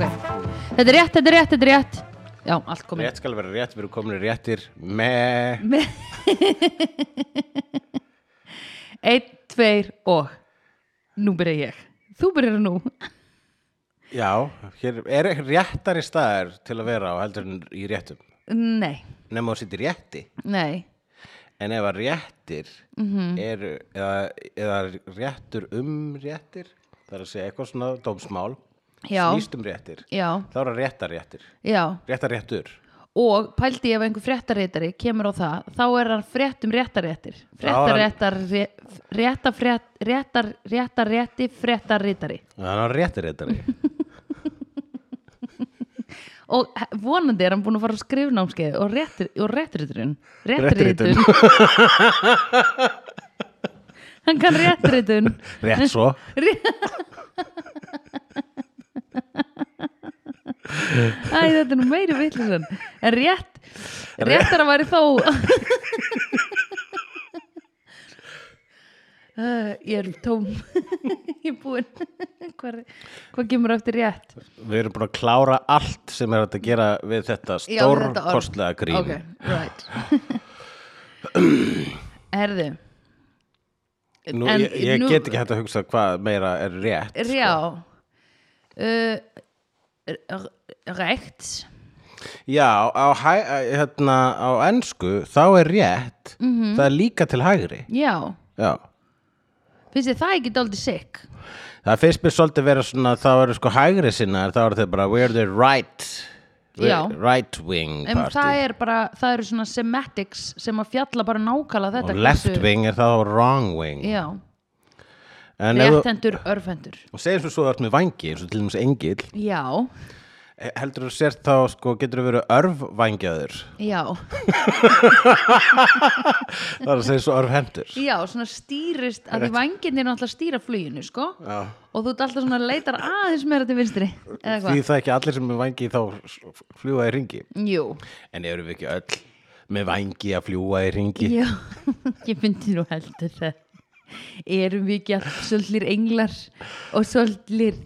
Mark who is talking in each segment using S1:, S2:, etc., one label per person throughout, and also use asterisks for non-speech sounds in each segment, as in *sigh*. S1: Þetta er rétt, þetta er rétt, þetta er rétt Já, allt komið
S2: Rétt skal vera rétt, við erum komin í réttir með
S1: Einn, tveir og Nú byrja ég Þú byrjar nú
S2: Já, hér er réttari staðar til að vera á heldur en í réttum
S1: Nei,
S2: nema þú sittir rétti
S1: nei
S2: en ef að réttir
S1: Mhm.
S2: eru, eða, eða réttur um réttir það er að segja eitthvað svona dómsmál
S1: Já.
S2: snýst um réttir
S1: Já,
S2: þá eru réttar réttir,
S1: já
S2: réttar réttur
S1: Og pældi ef einhver fréttaréttari kemur á það Þá er hann frétt um réttaréttir Fréttaréttar Rétta frétt Réttar, réttar rétti fréttaréttari
S2: þannig að réttir réttari
S1: *laughs* Og he- vonandi er hann búin að fara á skrifnámskeið Og réttir- og réttriturinn
S2: Réttritun.
S1: Réttriturinn *laughs* Hann kann réttritun
S2: rétt svo
S1: Æ, þetta er nú meiri vitlisann En rétt Réttar að væri þó uh, Ég er tóm Ég er búin Hvað, hvað kemur eftir rétt?
S2: við erum búin að klára allt sem er hægt að gera við þetta
S1: Já, við þetta orð.
S2: stórkostlega grín
S1: Ok, right *clears throat* Herðu
S2: Nú,
S1: En
S2: ég, ég
S1: nú-
S2: get ekki hægt að hugsa hvað meira er rétt
S1: Já uh, Rekt
S2: Já, á, hæ, hérna, á ensku þá er rétt
S1: Mhm.
S2: það er líka til hægri
S1: Já,
S2: Já.
S1: finnst þið það ekki dálítið sick?
S2: Það fyrst mér svolítið vera svona þá eru sko hægri sinnar, þá eru þau bara we're the right
S1: Já.
S2: we're right wing
S1: En
S2: party
S1: það er bara, það eru svona sematics sem að fjalla bara nákvæmlega þetta
S2: og left
S1: hversu-
S2: wing er þá wrong wing
S1: Já,
S2: En ef þú
S1: réttendur, örfendur
S2: og segir svo svo þú ert með vangi eins og til dæmis engil
S1: Já,
S2: heldur þú sért þá sko getur þú verið örvvængjaður
S1: já,
S2: það er að segja svo örvhendur
S1: já, svona stýrist að því vanginni er náttúrulega að stýra fluginu, sko
S2: Já.
S1: og þú ert alltaf svona leitar aðeins meira til vinstri eða
S2: Því
S1: hvað,
S2: það ekki allir sem er með vangi þá fljúa í ringi
S1: jú
S2: En eru við ekki öll með vangi að fljúa í ringi?
S1: Já, *laughs* ég myndi nú heldur það erum við ekki alltaf svolítlir englar og svolítlir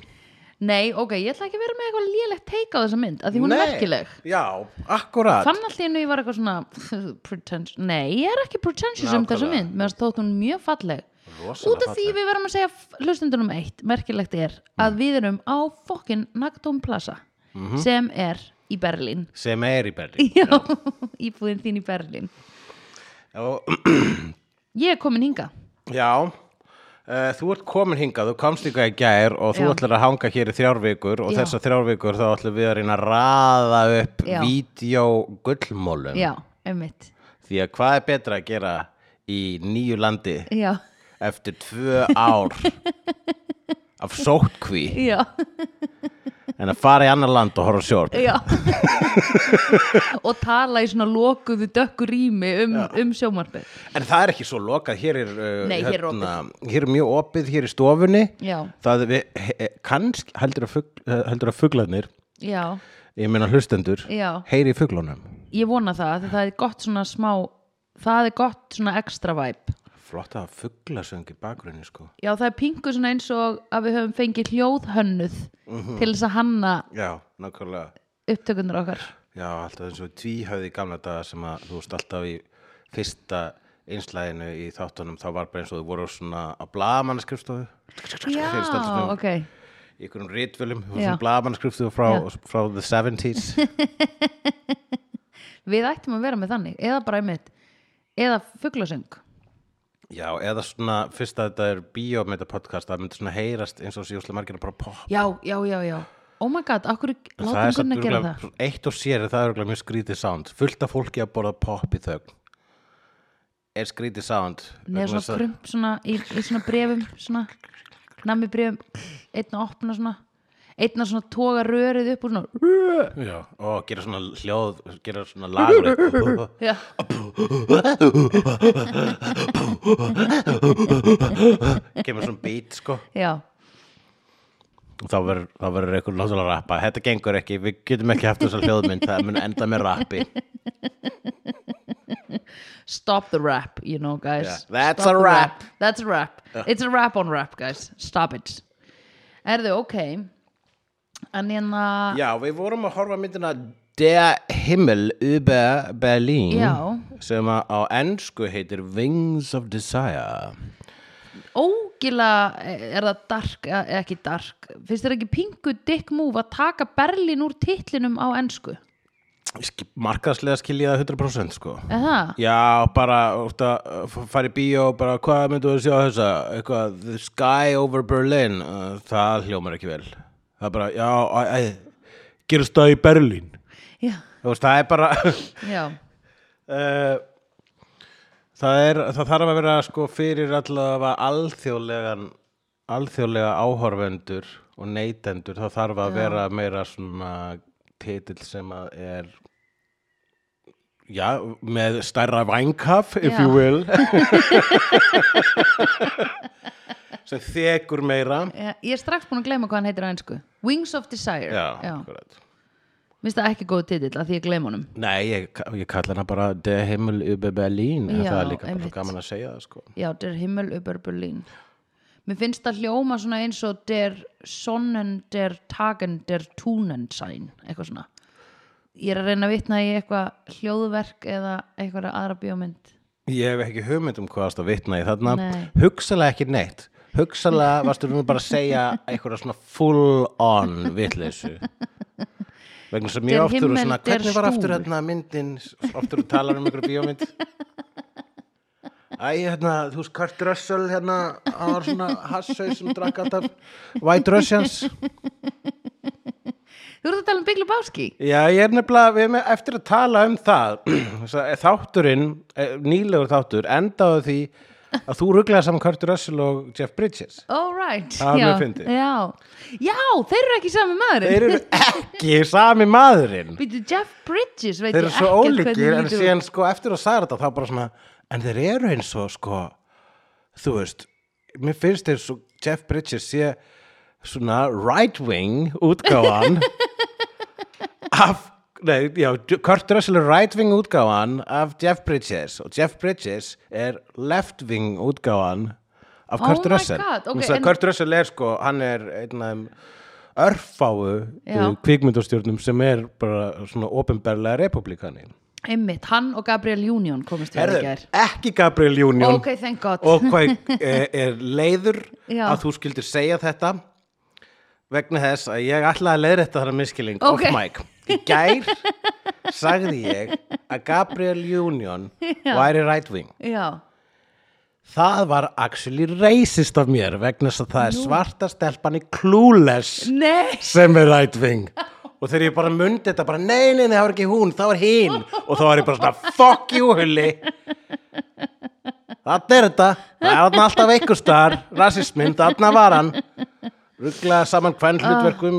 S1: Nei, ok, ég ætla ekki að vera með eitthvað lélegt teika á þessa mynd, að því hún er
S2: Nei.
S1: merkileg
S2: Já, akkurat.
S1: fann alltaf innu ég var eitthvað svona *laughs* pretentious, nei ég er ekki pretentious um
S2: Nákvæmlega.
S1: þessa mynd, meðan þótt hún mjög falleg
S2: Rosalega
S1: út af því
S2: falleg.
S1: við verðum að segja f- hlustendunum eitt, merkilegt er að við erum á fokkin Nagdóm Plaza sem er í Berlín
S2: Sem er í Berlín.
S1: *laughs* já, íbúðin þín í Berlín
S2: Og,
S1: ég er komin hinga
S2: já, uh, þú ert komin hingað, þú komst ykkar í gær og þú
S1: Já.
S2: ætlar að hanga hér í þrjár vikur og
S1: Já.
S2: þessar þrjár vikur þá ætlum við að reyna að raða upp
S1: Já.
S2: vídeo gullmólum.
S1: já, einmitt
S2: Því að hvað er betra að gera í nýju landi
S1: já,
S2: eftir tvö
S1: *laughs*
S2: ár af sótkví
S1: já,
S2: en að fara í annar land og horfa sjórn?
S1: já og tala í svona lokuðu dökku rými um, um sjómarfið
S2: En það er ekki svo lokað, hér er, uh,
S1: Nei, hér er
S2: hér er mjög opið, hér í stofunni.
S1: Já.
S2: Það er við, he- he- kannski, heldur að, fugl, eh, heldur að fuglarnir,
S1: já,
S2: ég meina hlustendur,
S1: Já.
S2: heyri í fuglunum.
S1: ég vona það því það er gott svona smá það er gott svona extra vibe
S2: Flott að fuglasöng í bakgrunni, sko.
S1: já það er pingu svona eins og að við höfum fengið hljóðhönnuð
S2: Mhm.
S1: til þess að hanna
S2: Já, nákvæmlega.
S1: upptökunar okkar
S2: Já, alltaf eins og tvíhauði í gamla daga sem að þú veist alltaf í fyrsta einslæðinu í þáttunum, þá var bara eins og þú voru svona á blaðamannaskrifstofu. Þeir standa
S1: já
S2: svona-
S1: ok
S2: í einhverjum ritvölum,
S1: Já.
S2: svona blaðamannaskrifstofu frá, frá the 70s.
S1: við ættum að vera með þannig eða bara einmitt eða fuglasöng
S2: Já, eða svona, fyrst að þetta er bíómyndapodcast, það myndi svona heyrast eins og síðuslega margir að bara poppa.
S1: já já já já oh my god okkur
S2: En það er
S1: látum kunna
S2: samt
S1: að gera
S2: örugglega-
S1: það
S2: Eitt og sér er það örgulega mjög skrítið sound. Fullt af fólki að borða popp í þögn. Er skrítið sound.
S1: neða
S2: vegna þess
S1: svona
S2: að-
S1: krump svona í, í svona brefum svona nammi brefum einn að opna svona einn að svona toga rörið upp og svona
S2: Já, og gera svona hljóð, gera svona
S1: *laughs*
S2: lagur.
S1: já
S2: Kemur svona beat, sko.
S1: já
S2: Og þá verður- þá verður eitthvað náttúrulega að rappa. Þetta gengur ekki, við getum ekki haft þessa hljóðmynd, það mun enda með rappi.
S1: stop the rap, you know, guys.
S2: Yeah. That's
S1: Stop
S2: a
S1: the
S2: rap.
S1: That's a rap. It's a rap on rap, guys. Stop it. Erðu, ok. en hérna
S2: Já, við vorum að horfa á myndina Der Himmel über Berlin
S1: Já.
S2: sem að á ennsku heitir Wings of Desire
S1: ógila eh, er það dark, eða ekki dark finnst þér ekki pingu dick move að taka Berlín úr titlinum á ensku
S2: Sk- Markaðslega skil ég það 100% sko
S1: eða
S2: Já, bara úrst að uh, f- fara í bíó bara hvað myndu að sjá þessa eitthvað, The Sky over Berlin uh, það hljómar ekki vel það er bara, já, æ, æ, gerist það í Berlín
S1: já,
S2: Þú veist, það er bara *laughs*
S1: já,
S2: uh, það er það þarf að vera sko fyrir allavega alþjóðlegan alþjóðlega áhorfendur og neytendur, það þarf að vera meira svona titill sem að er já, með stærra vængkaf if
S1: Já.
S2: you
S1: *laughs*
S2: will sem þekur meira
S1: já Eh, ég er strax búin að gleyma hvað hann heitir á ensku Wings of Desire
S2: já,
S1: já.
S2: akkurat.
S1: minnst það ekki góð titill að því ég gleyma honum
S2: nei, ég, ég kalla hana bara Der Himmel über Berlin en
S1: Já,
S2: það er líka bara
S1: einmitt.
S2: svo gaman að segja það sko
S1: Já, der Himmel über Berlin Mér finnst það hljóma svona eins og der sonnen, der tagen, der tunen sein, eitthvað svona Ég er að reyna að vitna í eitthvað hljóðverk eða eitthvað aðra bíómynd
S2: Ég hef ekki hugmynd um hvað varst að vitna í þarna
S1: Nei.
S2: hugsalega ekki neitt
S1: *laughs*
S2: hugsalega varstu nú bara að segja einhverja svona full on vitleysu vegna sem
S1: Der
S2: mjög oft eru
S1: Himmel,
S2: svona
S1: der
S2: hvernig var aftur
S1: Stuhl.
S2: þarna myndin oftur að tala um einhverju bíómynd Æ, hérna, þú veist Kurt Russell hérna, hann var svona hassau sem drakk alltaf White Russians
S1: Þú ert að tala um Big Lebowski?
S2: Já, ég er nefnilega, við erum eftir að tala um það *clears throat* Þess að þátturinn, eh, nýlegur þáttur endaði á því að þú rugglaði saman Kurt Russell og Jeff Bridges
S1: All right
S2: Það var
S1: já,
S2: mjög fyndið.
S1: já. já, þeir eru ekki sami maður
S2: Þeir eru ekki sami maðurinn
S1: Býtu Jeff Bridges, veit
S2: Þeir eru
S1: ég
S2: svo
S1: ekkert hvernig
S2: ólíkir en
S1: lítur út.
S2: síðan sko eftir að sagði þetta þá bara svona en þeir eru eins og sko þú veist, mér finnst þeir svo Jeff Bridges sé svona right wing
S1: *laughs*
S2: útgáfan af Nei, já, Kurt Russell er right wing útgáfan af Jeff Bridges og Jeff Bridges er left wing útgáfan af
S1: Oh
S2: Kurt
S1: my
S2: Russell
S1: God, ok,
S2: Þú veist að
S1: en-
S2: Kurt Russell er sko, hann er einn af þeim örfáu
S1: Já.
S2: uh, kvikmyndastjórnum sem er bara svona ofinberlega republikani
S1: Einmitt, hann og Gabriel Union komist við ekki er
S2: ekki Gabriel Union
S1: Ok, thank god
S2: og hvað er, er leiður
S1: Já.
S2: að þú skildir segja þetta vegna þess að ég ætlaði að leiðrétta þetta þar miskiling
S1: Ok.
S2: off mic í gær sagði ég að Gabriel Union
S1: Já.
S2: væri right wing
S1: Já,
S2: það var actually racist af mér vegna þess að það er svarta stelpan í Clueless
S1: nei
S2: sem er right wing og þegar ég bara mundi þetta bara nei, nei, nei, það var ekki hún, það var hinn og þá var ég bara svona, fuck you, hulli þarna er þetta það er þarna alltaf einhver star rasismin, þarna var hann rugglaði saman hvern
S1: Ah.
S2: hlutverkum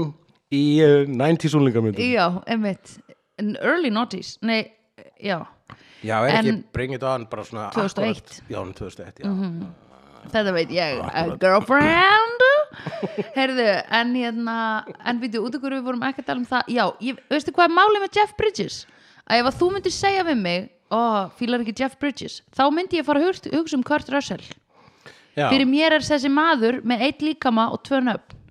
S2: í uh, 90s úlingamyndum
S1: Já, einmitt N- Early noughties, nei, já
S2: já, er ekki
S1: En-
S2: bring it on bara svona
S1: 2001.
S2: akkúrat- já, hún er 2001, já
S1: Mhm. Þetta veit ég, a girlfriend Heyrðu, en hérna En við út okkur við vorum ekki að tala um það Já, ég, veistu hvað er málið með Jeff Bridges? Að ef að þú myndir segja við mig Ó, fílar ekki Jeff Bridges Þá myndi ég fara að hugst- hugsa um Kurt Russell
S2: já,
S1: Fyrir mér er þessi maður með eitt líkama og tvö nöfn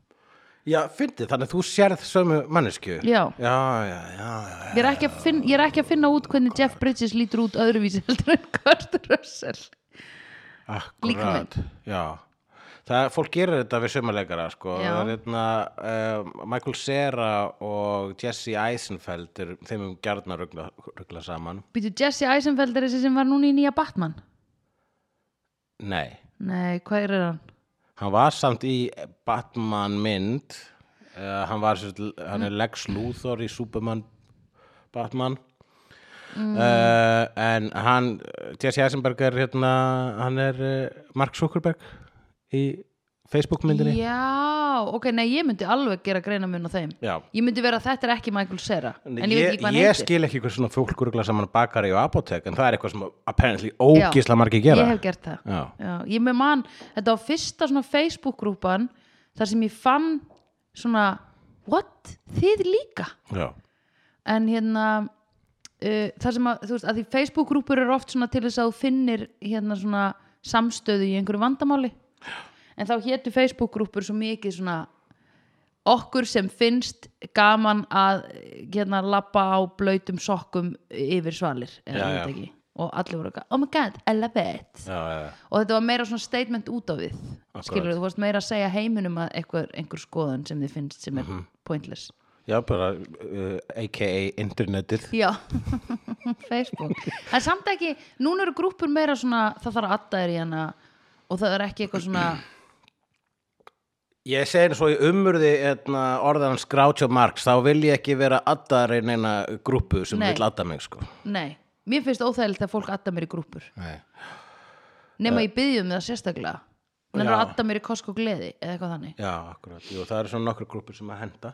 S2: já fyndi, þannig að þú sérð sömu manneskju
S1: Já.
S2: já, já, já, já.
S1: Ég er ekki að, finn, ég er ekki að finna út hvernig Jeff Bridges lítur út öðruvísi *laughs* heldur en Kurt Russell
S2: Akkurat, já Það, fólk gerir þetta við sömuleikara sko.
S1: Já.
S2: það er hérna uh, Michael Cera og Jesse Eisenfeld er, þeim um gjarnar rugla, rugla saman
S1: Býtu Jesse Eisenfeld er þessi sem var núna í nýja Batman
S2: Nei,
S1: Nei, hvað er hann?
S2: hann var samt í Batman mynd uh, hann var sér, hann er Lex Luthor í Superman Batman Uh, en hann Jesse Eisenberg er hérna hann er uh, Mark Zuckerberg í Facebook myndinni
S1: Já, ok, nei, ég myndi alveg gera greina mun á þeim
S2: Já.
S1: Ég myndi vera að þetta er ekki Michael Cera En ég, veit
S2: ég,
S1: ekki hvað hann
S2: ég
S1: heitir
S2: skil ekki hvað svona fólk rugla saman bakari og apotek en það er eitthvað sem apparently ógisla margir gera
S1: Ég hef gert það
S2: Já.
S1: Ég með mann, þetta var fyrsta svona Facebook-grúpan Þar sem ég fann svona What? Þið líka?
S2: Já.
S1: en hérna uh, þar sem að, þú veist, að því Facebook-grúpur eru oft svona til þess að þú finnir hérna svona samstöðu í einhverju vandamáli en þá hétu Facebook-grúpur svo mikið svona okkur sem finnst gaman að hérna lappa á blöytum sokkum yfir svalir eða
S2: Já,
S1: ég veit
S2: já.
S1: ekki. og allir voru eitthvað, oh my god, I love it
S2: já, já,
S1: og þetta var meira svona statement út á við
S2: Akkurat.
S1: skilur þú veist meira að segja heiminum að einhver, einhver skoðan sem þið finnst sem er
S2: Mhm.
S1: pointless
S2: já, bara uh, aka internetið
S1: já, *laughs* Facebook en samt ekki, núna eru grúpur meira svona það þarf að adda þér í hana og það er ekki eitthvað svona
S2: Ég segi svo í umurði etna, orðan Groucho Marx, þá vil ég ekki vera addari neina grúpu sem
S1: Nei.
S2: vil adda mig sko.
S1: nei, mér finnst óþægilegt þegar fólk adda mér í grúpur
S2: Nei.
S1: nema ég byggjum um það sérstaklega þannig að
S2: Eh. Já.
S1: adda mér í kosk og gleði eða eitthvað þannig
S2: Já, akkurat. Jú, það eru svona nokkru grúpur sem að henda.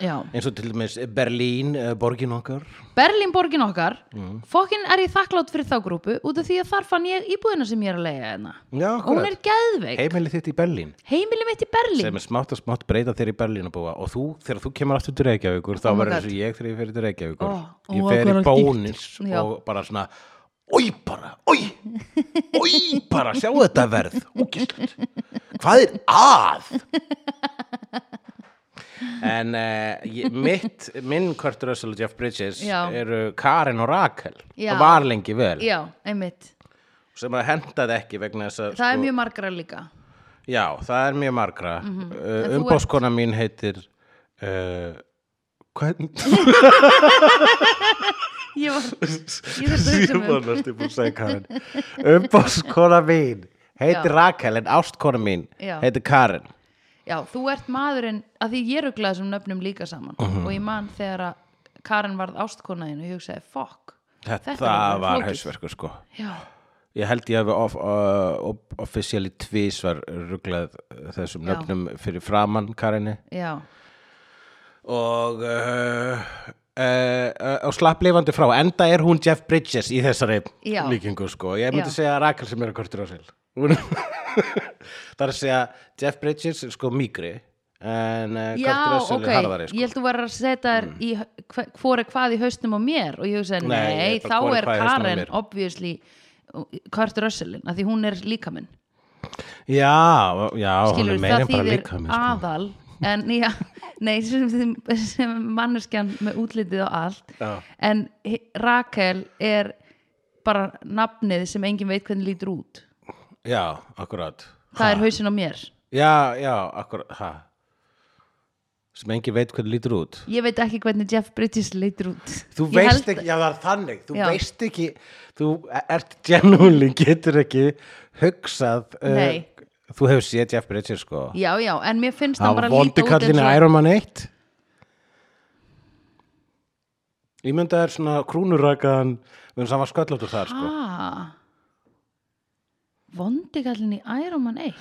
S1: já.
S2: Eins og til dæmis Berlín, eh, borgin okkar.
S1: Berlín borgin okkar
S2: Mm.
S1: fokkin er ég þakklátt fyrir þá grúpu út af því að þar fann ég íbúðina sem ég er að leiga hérna
S2: Já,
S1: og hún
S2: akkurat.
S1: er geðveik
S2: Heimili þitt í Berlín,
S1: heimili mitt í Berlín
S2: sem er smátt og smátt breyta þér í Berlín að búa. Og þú, þegar þú kemur aftur til Reykjavíkur, þá
S1: Oh my
S2: verður
S1: God.
S2: eins og ég þegar ég fer til Reykjavíkur.
S1: Oh,
S2: ég
S1: og
S2: fer í
S1: akkurat
S2: bónus
S1: dýrt. Já.
S2: og bara svona, oi bara, oi, oi bara, sjá þetta verð, úkislegt. Hvað er að? En uh, mitt, minn Kurt Russell og Jeff Bridges
S1: Já.
S2: eru Karin og Rakel
S1: Já.
S2: og var lengi vel.
S1: já, einmitt,
S2: sem að hendaði ekki vegna þess að
S1: það er mjög margra
S2: *laughs*
S1: líka
S2: já, það er mjög margra mm
S1: Mhm. En
S2: uh,
S1: þú
S2: umbóskona mín heitir uh, hvern
S1: ég var, *laughs* ég þurfti að hugsa
S2: ég
S1: mig um.
S2: var næst ég búin að segja Karin umbóskona mín heitir Rakel en ástkona mín
S1: Já.
S2: heitir Karin
S1: já, þú ert maðurinn að því ég rugglaði þessum nöfnum líka saman
S2: Mhm.
S1: og ég man þegar að Karen varð ástkonaðin og ég hugsaði, fokk
S2: þetta,
S1: er alveg
S2: var
S1: flókið.
S2: hausverku sko
S1: já,
S2: ég held ég hafi of, uh, officially tvísvar ruglað þessum
S1: Já.
S2: nöfnum fyrir framann Karinni
S1: já,
S2: og uh, uh, uh, og slapp lifandi frá enda er hún Jeff Bridges í þessari
S1: Já.
S2: líkingu sko, ég myndi
S1: Já.
S2: segja Rakel sem er að kortur á sér *laughs* það er að segja Jeff Bridges er sko mýgri en uh,
S1: já
S2: kortur á sér
S1: ok
S2: er harðari
S1: ég
S2: sko. Mhm.
S1: held þú var að setja þér í hva- hvor er hvað í haustum á mér og ég hugsaði,
S2: Nei,
S1: nei,
S2: ég er bara,
S1: þá
S2: hvor er
S1: er
S2: hvað í hausnum á
S1: Karen
S2: mér?
S1: obviously Kurt Russellin, að því hún er líkaminn
S2: já, já, hún
S1: skilur
S2: er meira
S1: það
S2: en bara
S1: þýðir
S2: líka sko.
S1: aðal en já, *laughs* nei sem, sem- sem manneskjan með útlitið og allt
S2: Já.
S1: en hi- Rakel er bara nafnið sem engin veit hvernig lítur út
S2: já, akkurat
S1: það er hausinn á mér
S2: já, já, akkurat ha. sem engin veit hvernig lítur út
S1: ég veit ekki hvernig Jeff Bridges lítur út
S2: Þú
S1: Ég
S2: veist
S1: held-
S2: ekki, já það er þannig, þú
S1: Já.
S2: veist ekki, þú ert genúli, getur ekki hugsað, uh,
S1: Nei.
S2: þú hefur séð Jeff Bridges sko.
S1: já, já, en mér finnst
S2: Það
S1: hann
S2: var
S1: bara
S2: vondi
S1: líta út
S2: kallin í
S1: eins og
S2: Iron Man 1. Ég myndi að það er svona krúnurakaðan, þannig að hann var sköllóttur þar sko.
S1: Ha? vondi kallin í Iron Man 1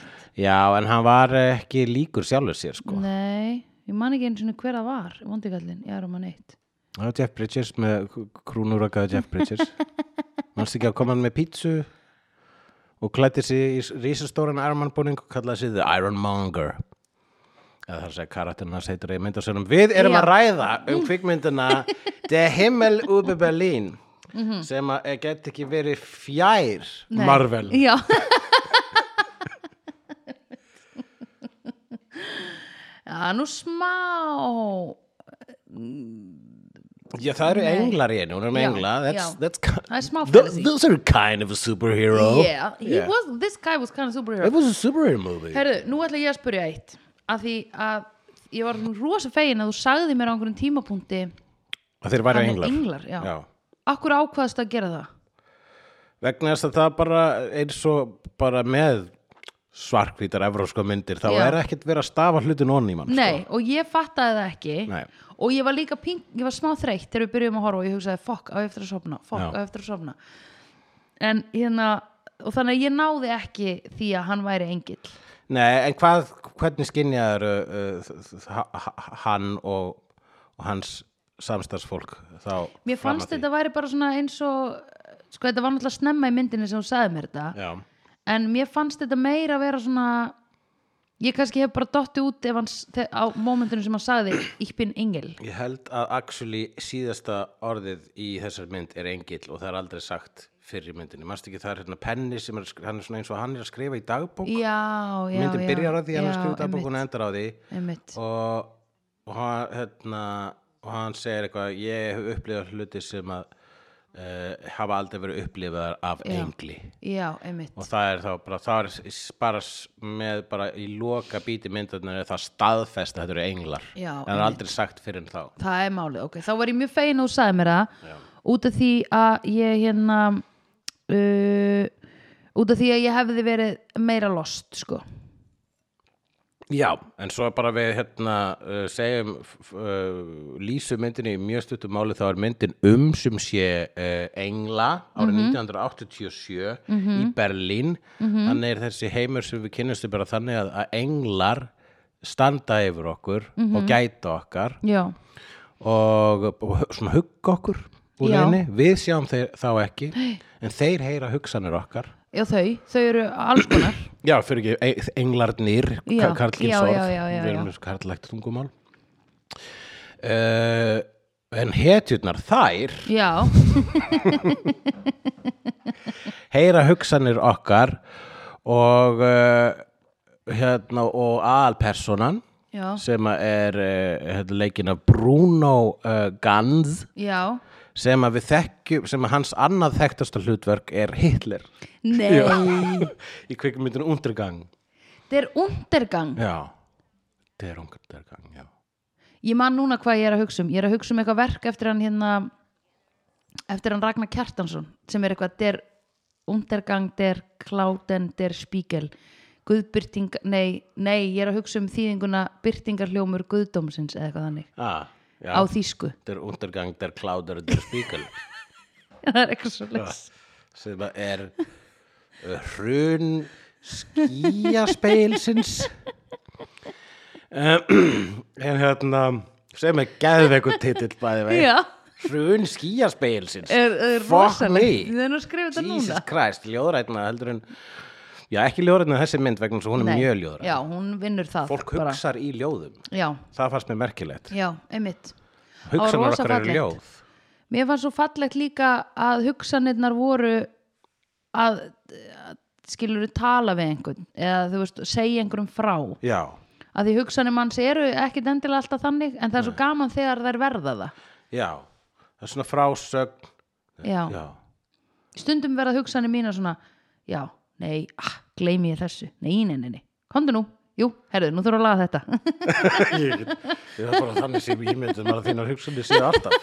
S2: Já, en hann var eh, ekki líkur sjálfur sér sko.
S1: nei, ég man ekki einu sinni hver að var vondi kallin í Iron Man 1
S2: Það var Jeff Bridges með krúnurakaða Jeff Bridges.
S1: *laughs*
S2: Manstu ekki að koma hann með pítsu og klætti sig í rísastóran Iron Man búning og kallaði sig The Iron Monger. Eða það er að segja karakterinn hans heitir í myndasönum. Við erum
S1: Já. Mm.
S2: að ræða um kvikmyndina The Himmel Ube Berlin sem að eh, gæti ekki verið fjær
S1: Mhm. Nei.
S2: Marvel.
S1: já Já, nú smá
S2: Já, það eru englar í henni, hún er um
S1: Já,
S2: engla. That's,
S1: já.
S2: that's, ki-
S1: Það er smá
S2: Th-
S1: fantasy.
S2: those are kind of a superhero.
S1: Yeah, he
S2: Yeah.
S1: was, this guy was kind of superhero
S2: It was a superhero movie.
S1: Herðu, nú ætla ég að spyrja eitt að því að ég var nú rosa fegin að þú sagði mér á einhverjum tímapunkti
S2: Og þeir væri
S1: hann er
S2: englar.
S1: englar, já.
S2: já.
S1: Akkur ákvaðast að gera það?
S2: vegna þess að það bara eins og bara með svarkvítar evróska myndir þá
S1: Já.
S2: er ekkert verið að stafa hlutin onni í mann
S1: Nei, og ég fattaði það ekki
S2: sko. Nei.
S1: og ég var líka pink, ég var smá þreytt þegar við byrjum að horfa og ég hugsaði fokk á ég eftir að sofna, fokk
S2: Já.
S1: á ég eftir að sofna en hérna og þannig að ég náði ekki því að hann væri engill
S2: sko. Nei, en hvað, hvernig skinjaður uh, uh, ha- ha- hann og, og hans samstarfsfólk þá
S1: Mér
S2: fram
S1: fannst
S2: að því?
S1: þetta væri bara svona eins og sko þetta var náttúrulega snemma í myndinni sem hún sagði mér þetta
S2: Já,
S1: en mér fannst þetta meira að vera svona ég kannski hef bara dotti út ef hans, á momentinu sem hann sagði ich bin engil
S2: ég held að actually síðasta orðið í þessar mynd er engill og það er aldrei sagt fyrir myndinni, mannst ekki það er hérna penni sem er, að sk- hann er svona eins og hann er að skrifa í dagbók
S1: Já, já,
S2: myndin
S1: já
S2: byrjar á því að hann er að skrifa í
S1: já,
S2: dagbók og hún endar á því
S1: einmitt, einmitt.
S2: og og hann, hérna, og hann segir eitthvað ég hef upplifað hluti sem að uh, hafa aldrei verið upplifaðar af
S1: Já.
S2: engli
S1: já, einmitt
S2: og það er þá bara, það er s- bara s- með bara í loka bíti myndarnar er það staðfest að þetta eru englar
S1: Já,
S2: en það er
S1: einmitt.
S2: aldrei sagt fyrir en þá
S1: það er málið, ok, þá var ég mjög fegin og þú sagði mér það, út af því að ég hérna uh, út af því að ég hefði verið meira lost, sko
S2: já, en svo bara við hérna uh, segjum f- f- uh, lýsu myndinni í mjög stuttum máli þá er myndin um sem sé uh, engla árið 1987 í Berlín þannig er þessi heimur sem við kynnumstu bara þannig að, að englar standa yfir okkur og gæta okkar
S1: já,
S2: og, og svona hugga okkur úr
S1: Já.
S2: henni, við sjáum þeir, þá ekki en þeir heyra hugsanir okkar
S1: já þau, þau eru alls konar
S2: já, fyrir ekki, e, englarnir
S1: Já,
S2: karlkins
S1: já,
S2: orð
S1: já, já, já,
S2: við
S1: já.
S2: erum karlægt tungumál uh, en hetjurnar þær
S1: já,
S2: heyra hugsanir okkar og uh, hérna og alpersonan
S1: já,
S2: sem að er uh, hérna, leikinn af Bruno uh, Ganz
S1: já
S2: sem að við þekkjum, sem að hans annað þekktasta hlutverk er Hitler
S1: nei,
S2: *laughs* í kvikmyndinu Undergang
S1: þetta er undergang
S2: já, það er Undergang já.
S1: ég man núna hvað ég er að hugsa um ég er að hugsa um eitthvað verk eftir hann hérna eftir hann Ragnar Kjartansson sem er eitthvað der undergang der kláten der spíkel guðbyrting, nei, nei ég er að hugsa um þýðinguna byrtingarhljómur guðdómsins eða eitthvað þannig
S2: Ah, já,
S1: á þýsku, *laughs*
S2: það er Undergang, það er Kláður, það er Spíkel
S1: það er eitthvað svo leys
S2: sem að er uh, hrun skíaspeilsins um, *clears throat* en hérna sem er geðveikur titill bæði vei
S1: já,
S2: hrun skíaspeilsins
S1: er, er
S2: fuck me
S1: rosalegt við erum að skrifa þetta
S2: Jesus
S1: núna
S2: Christ, ljóðrætna heldur en já, ekki ljóðrætna þessi mynd vegna svo hún er
S1: Nei.
S2: mjög ljóðrætna
S1: já, hún vinnur það
S2: fólk
S1: bara.
S2: hugsar í ljóðum,
S1: já,
S2: það fannst mér merkilegt
S1: já, einmitt
S2: hugsanar
S1: rosa
S2: okkar eru
S1: fallegt.
S2: ljóð
S1: Mér fannst svo fallegt líka að hugsanirnar voru að, að skilur tala við einhvern eða þú veist, segja einhverjum frá
S2: já,
S1: að því hugsanir manns eru ekkit endilega alltaf þannig en það er svo gaman þegar þær verða það
S2: já það er svona frásögn
S1: já.
S2: já, *laughs*
S1: stundum verða hugsanir mína svona já, nei, ah, gleymi ég þessu nei, nei, nei, nei, komdu nú jú, herðu, nú þurfum við að laga þetta
S2: ég get ég er bara þannig sem ég myndi bara þínar hugsanir séu alltaf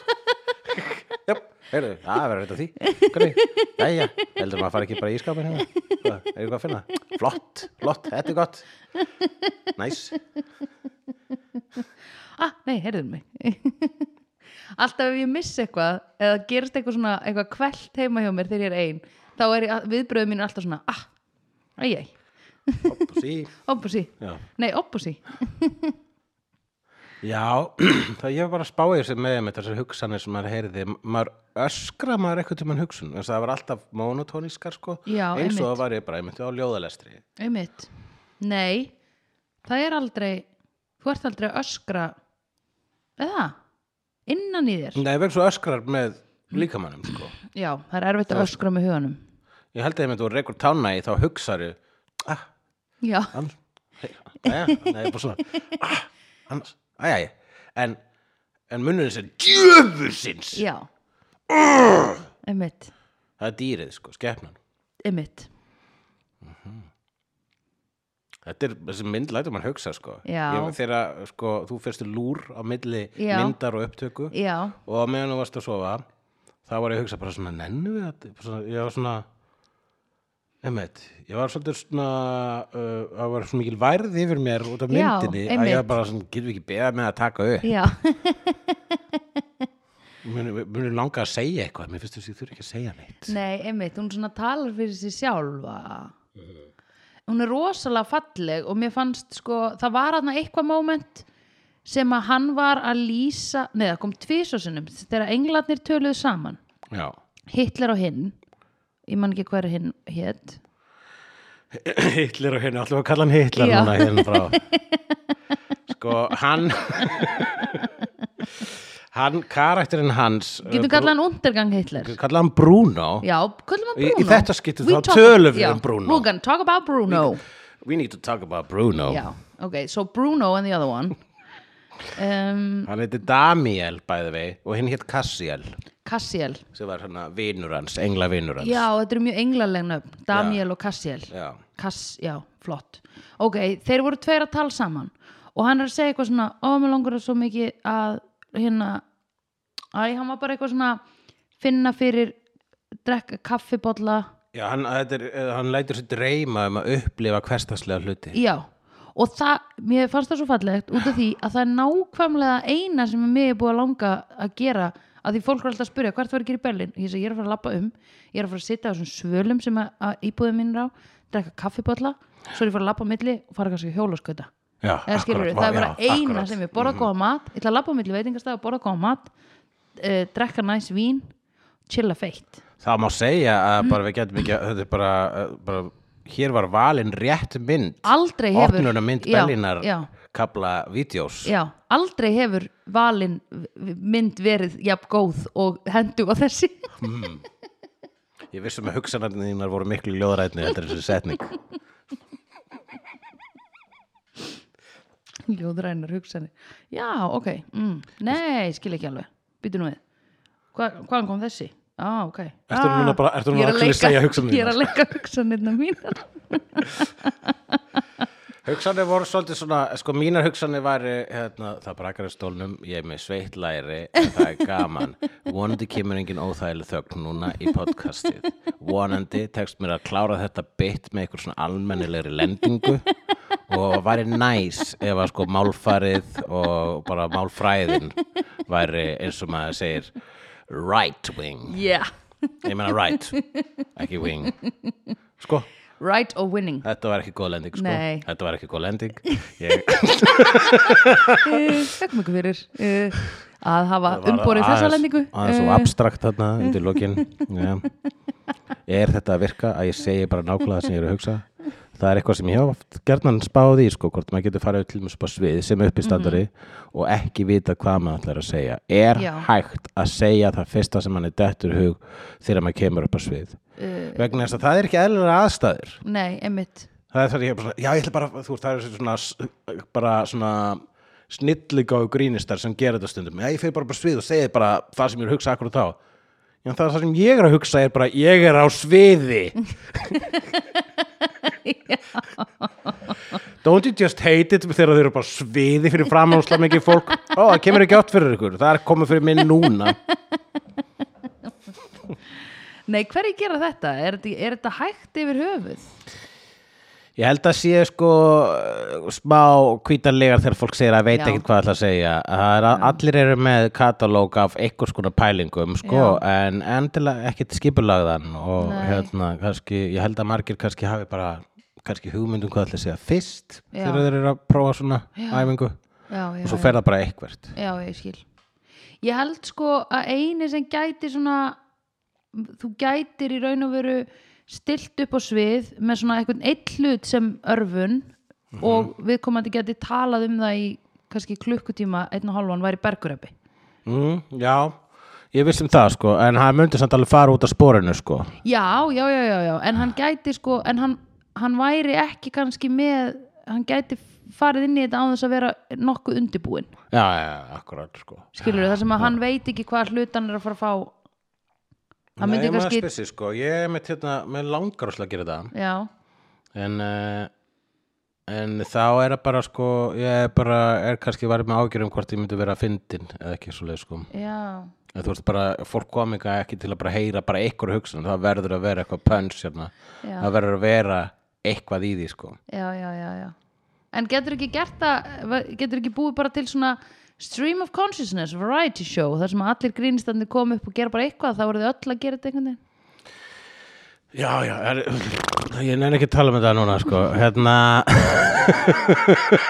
S2: jöp, heyrðu, það verður þetta því hvernig, jæja, heldur maður að fara ekki bara í skapin hérna, Hvað, er eitthvað að finna flott, flott, þetta er gott næs,
S1: ah, nei, herðu mig *laughs* alltaf ef ég missi eitthvað eða gerist eitthvað svona, eitthvað kvælt heima hjá mér þegar ég er ein, þá er ég- viðbröðu mín alltaf svona, ah, æjæj
S2: hopp og sí
S1: Oppusi,
S2: já
S1: nei oppusi
S2: Já, *clears throat* það ég var bara að spá í þessu með með þessar hugsanir sem maður heyrði maður öskra maður eitthvað til mann hugsun þess að það var alltaf monotónískar sko
S1: Já,
S2: eins og
S1: einmitt.
S2: það var ég bara, ég myndi á ljóðalestri
S1: Einmitt, nei Það er aldrei Þú ert aldrei að öskra Eða, innan í þér
S2: Nei, vegna svo öskrar með líkamannum sko
S1: Já, það er erfitt að öskra með huganum
S2: Ég held að ég myndi úr reykur tána í þá hugsaru ah,
S1: Já,
S2: annars hei, aja, nei, bara svona ah, annars, aja, aja en, en munurinn sem djöfusins
S1: já Einmitt,
S2: það er dýrið sko, skepnan
S1: einmitt
S2: Þetta er, þessi mynd lætur mann hugsa sko
S1: Já.
S2: Ég- Þegar sko, þú fyrstu lúr á milli
S1: Já.
S2: myndar og upptöku
S1: Já,
S2: og á meðan þú varst að sofa þá var ég að hugsa bara svona nennu við þetta Bara svona, ég var svona einmitt, ég var svolítið svona uh, það var svona mikil værið yfir mér út af
S1: Já,
S2: myndinni að ég
S1: einmitt.
S2: var bara svona, getum við ekki beða með að taka upp
S1: já,
S2: muni, muni langa að segja eitthvað mér finnst þess að ég þurfi ekki að segja neitt
S1: nei, einmitt Hún svona talar fyrir sér sjálfa
S2: Mhm.
S1: Hún er rosalega falleg og mér fannst sko, það var aðna eitthvað moment sem að hann var að lýsa, nei það kom tvisvarsinnum þegar englarnir töluðu saman
S2: Já, *clears throat*
S1: Hitler og hinn ég man ekki hver hinn hétt
S2: Eh, Hitler og henni, allir að kalla hann Hitler
S1: Já.
S2: núna hérna frá
S1: *laughs*
S2: sko, hann *laughs* hann, karakterinn hans
S1: getum kallað hann undergang Hitler
S2: kalla hann Bruno
S1: já, kallum hann
S2: Í- í
S1: Bruno
S2: þetta skiptið
S1: We
S2: þá
S1: talk-
S2: tölum við
S1: já,
S2: um Bruno.
S1: we're gonna talk about Bruno
S2: we need to talk about Bruno *laughs*
S1: já, ok, so Bruno and the other one um,
S2: Hann heiti Damiel bæði vei og hinn hétt Cassiel
S1: Cassiel
S2: sem var svona vinur hans, engla vinur hans
S1: já, þetta eru mjög englaleg nöfn Daniel og Cassiel
S2: Já.
S1: Kass, já, flott ok, þeir voru tveir að tala saman og hann er að segja eitthvað svona ó, mér langar það svo mikið að hérna, æ, hann var bara eitthvað svona finna fyrir drekka kaffibolla
S2: Já, hann, þetta er, eh, hann lætur sér dreyma um að upplifa hverstaslega hluti
S1: Já, og það, mér fannst það svo fallegt út af því að það er nákvæmlega eina sem mér er búið að langa að gera að því fólk er alltaf að spyrja hvert var að gera í Berlin og ég segi ég er að fara að labba um ég er að fara að sitja á þessum svölum sem að, að íbúðum minn er á drekka kaffiballa, svo er ég að fara að labba á milli og fara kannski hjólasköta
S2: Já,
S1: eða skilur
S2: akkúrat,
S1: það er
S2: já, Mhm.
S1: bara eina
S2: akkúrat.
S1: sem ég borða góða mat ég ætla að labba á milli veitingastæð og borða góða mat uh, drekka næs vín chilla feitt
S2: Það má segja að bara við getum ekki að- þetta er bara, eh, bara hér var valin rétt mynd
S1: aldrei Ah, hefur
S2: opnuna mynd
S1: Já,
S2: Bellinar
S1: já.
S2: kapla vídeos
S1: Já, aldrei hefur valin v- mynd verið jafn góð og hendu á þessi.
S2: Ég vissum að hugsanarnir þínar voru miklu ljóðrætni þetta er þessi setning
S1: *laughs* Ljóðrænar hugsanir. Já, ok. Mm. Nei, skil ekki alveg. Býtu nú við. Hva, hvaðan kom þessi? Á, ah, ok.
S2: Ertu núna bara- ertu núna
S1: Ég er
S2: actually að
S1: leika-
S2: segja hugsanirnar?
S1: Ég er að leika hugsanirna mínar.
S2: Hugsanir voru svolítið svona, sko mínar hugsanir væri, hérna, það brakar í stólnum, ég er með sveitt læri, en það er gaman. Vonandi kemur engin óþægileg þögn núna í podcastið. Vonandi tekst mér að klára þetta bytt með eitthvað svona almennilegri lendingu og væri næs ef að sko málfarið og bara málfræðin væri eins og maður segir right wing.
S1: *laughs* Yeah.
S2: Ég meina right, ekki wing. Sko,
S1: Right or winning.
S2: Þetta var ekki góð lending sko
S1: Nei.
S2: Þetta var ekki góð lending Ég
S1: Þakk mjög Eh, fyrir uh, að hafa
S2: var
S1: umborið þessa
S2: aðeins-
S1: lendingu. Eh,
S2: Aðeins og abstrakt
S1: *laughs*
S2: þarna undir lokin Já. Er þetta að virka að ég segi bara nákvæmlega það sem ég er að hugsa Það er eitthvað sem ég hef oft gerðan spáði í sko Hvort maður getur farið til mjög spá svið sem uppistandari Og ekki vita hvað maður ætlar að segja Er
S1: Mhm. Já.
S2: hægt að segja það fyrsta sem mann er dettur í hug Þegar maður kemur upp á svið
S1: Uh,
S2: Vegna þess að það er ekki eðlilega aðstæður
S1: nei, einmitt.
S2: Það er það ég er bara svona, já ég ætla bara, þú veist, það er svona, s- bara svona snilligáðu grínistar sem gera þetta stundum. Já, ég fyrir bara bara svið og segi bara það sem ég er að hugsa akkur þá. Já, það sem ég er að hugsa er bara, ég er á sviði. Don't you just hate it þegar þau eru bara á sviði fyrir framhánsla mikið fólk. Ó, það kemur ekki átt fyrir ykkur, það er komið fyrir minn núna.
S1: Nei, hverju gera þetta? Er, þetta- er þetta hægt yfir höfuð?
S2: Ég held að sé sko uh, smá kvítarlegar þegar fólk segir að veit
S1: Já.
S2: ekkert hvað ætla að segja. Það er að allir eru með katalóg af einhvers konar pælingum sko en endilega ekkert skipulagðan og
S1: Nei.
S2: hérna kannski, ég held að margir kannski hafi bara kannski hugmyndum hvað ætla að segja fyrst
S1: Já.
S2: þegar þeir eru að prófa svona æfingu
S1: Já, já,
S2: og svo
S1: já.
S2: fer það bara eitthvert.
S1: Já, ég skil. Ég held sko að eini sem gæti svona, þú gætir í raun og veru stilt upp á svið með svona einhvern eitt hlut sem örfun
S2: Mhm.
S1: og viðkomandi gæti talað um það í kannski klukkutíma, einn og halvan væri berguröpi.
S2: Mm, já, ég vissi um það sko en hann myndi samt alveg fara út af sporinu sko.
S1: Já, já, já, já, já, en hann gæti sko, en hann, hann væri ekki kannski með, hann gæti farið inn í þetta á þess að vera nokkuð undibúin.
S2: Já, já, já, akkurat sko.
S1: Skilur það sem að hann veit ekki hvað hlut hann er að fara að fá. Hann myndi
S2: Nei, maður
S1: kannski,
S2: spesir sko, ég er með hérna, með langar óslega að gera þetta
S1: já.
S2: en, uh, en þá er það bara sko, ég er bara, er kannski varð með ágjörum hvort ég myndi vera að fyndin eða ekki svo leið sko
S1: Já,
S2: en þú veist bara, fólk kom ekki, ekki til að bara heyra bara eitthvað hugsun, það verður að vera eitthvað pönns hérna,
S1: Já.
S2: það verður að vera eitthvað í því sko
S1: já, já, já, já. En getur ekki gert það, getur ekki búið bara til svona stream of consciousness, variety show, þar sem allir grínistandi kom upp og gera bara eitthvað, þá voru þau öll að gera þetta einhvern veginn.
S2: Já, já, er, ég nefn ekki að tala um þetta núna sko, hérna *laughs*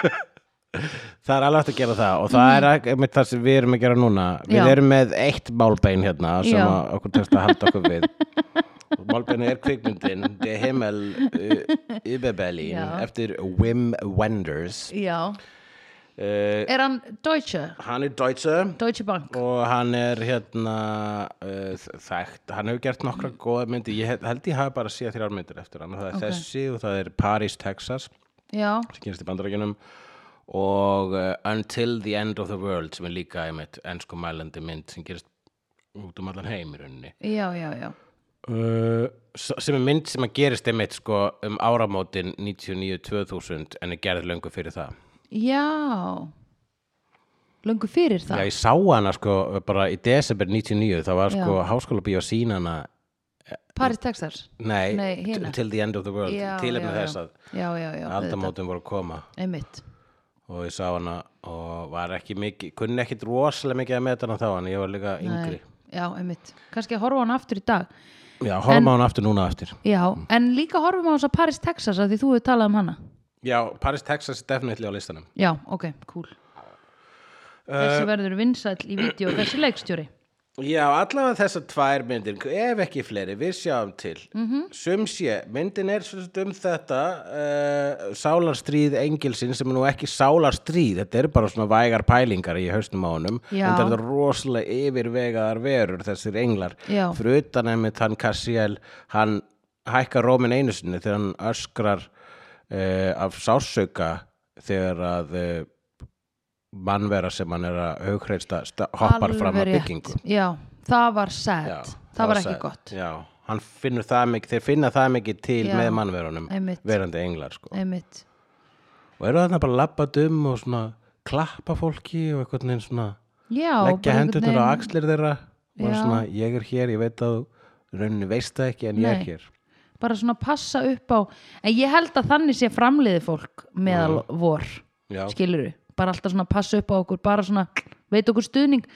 S2: Það er alveg hægt að gera það og það er ekki- einmitt það sem við erum að gera núna Við
S1: Mm. Já.
S2: erum með eitt málbein hérna sem
S1: Já.
S2: að okkur tekst að halda okkur við og málbeinu er kvikmyndin The Himmel uh, über Berlin
S1: Já.
S2: eftir Wim Wenders
S1: Já.
S2: uh,
S1: Er hann Deutsche,
S2: Hann er Deutsche
S1: Deutsche Bank?
S2: og hann er hérna uh, þekkt, hann hefur gert
S1: Mm.
S2: nokkra góða myndi, ég he- held ég hafi bara séð þrjár myndir eftir hann, það er þessi og það er Paris, Texas
S1: Já,
S2: sem gerist í bandarækjunum og uh, Until the End of the World sem er líka einmitt ensku mælandi mynd sem gerist út um allan heim í rauninni
S1: já, já, já
S2: uh, s- sem er mynd sem að gerist einmitt sko um áramótin 99-2000 en er gerð löngu fyrir það
S1: já löngu fyrir
S2: Já,
S1: það
S2: ég sá hana sko bara í desember 99 það var sko
S1: Já.
S2: háskóla bíó sína hana
S1: Paris, Texas
S2: nei,
S1: Nei, hina.
S2: t- Till the End of the World
S1: Já,
S2: tilefni
S1: já,
S2: þess
S1: já.
S2: að
S1: já, já, já, auðvitað.
S2: aldamótin voru að koma
S1: einmitt
S2: og ég sá hana og var ekki mikið kunni ekkit rosalega mikið að meta hana þá en ég var líka yngri
S1: Nei, Eh, já, einmitt, kannski að horfa á hann aftur í dag
S2: Já, horfum á hana aftur núna aftur
S1: já, en líka horfum á þess að Paris, Texas að því þú hefur talað um hana
S2: Já, Paris, Texas er definitely á listanum
S1: já, ok, cool
S2: Eh,
S1: þessi verður vinsæll í vídeo þessi leikstjóri
S2: Já, allavega þessar tvær myndir, ef ekki fleiri, við sjáum til. Mm
S1: Mhm.
S2: -hmm. Sum sé, myndin er sem sagt um þetta uh, sálarstríð engilsinn sem er nú ekki sálarstríð, þetta eru bara svona vægar pælingar í hausnum á honum,
S1: Já.
S2: en þetta eru rosalega yfirvegaðar verur þessir englar.
S1: Já.
S2: Fyrir utan einmitt hann Cassiel, hann hækkar rómin einu sinni þegar hann öskrar uh, af sásauka þegar að uh, mannvera sem hann er að haugreista hoppar fram að
S1: Alveg
S2: byggingu.
S1: rétt. já, það var sad
S2: Já,
S1: það, var ekki
S2: sæ-
S1: gott
S2: já, hann finnur það mikið, þeir finna það mikið til
S1: Já,
S2: með mannverunum
S1: einmitt.
S2: verandi englar sko.
S1: einmitt,
S2: og eru þarna bara labbat um og svona klappa fólki og eitthvað neginn svona
S1: já
S2: leggja
S1: bara
S2: hendurnar
S1: einhvern
S2: á
S1: veginn-
S2: axlir þeirra og
S1: Já.
S2: svona ég er hér, ég veit að þú rauninni veist það ekki en ég
S1: Nei.
S2: er hér
S1: bara svona passa upp á en ég held að þannig sé framliði fólk meðal vor,
S2: Mm. Já.
S1: skiluru bara alltaf svona passa upp á okkur, bara svona veit okkur stuðning,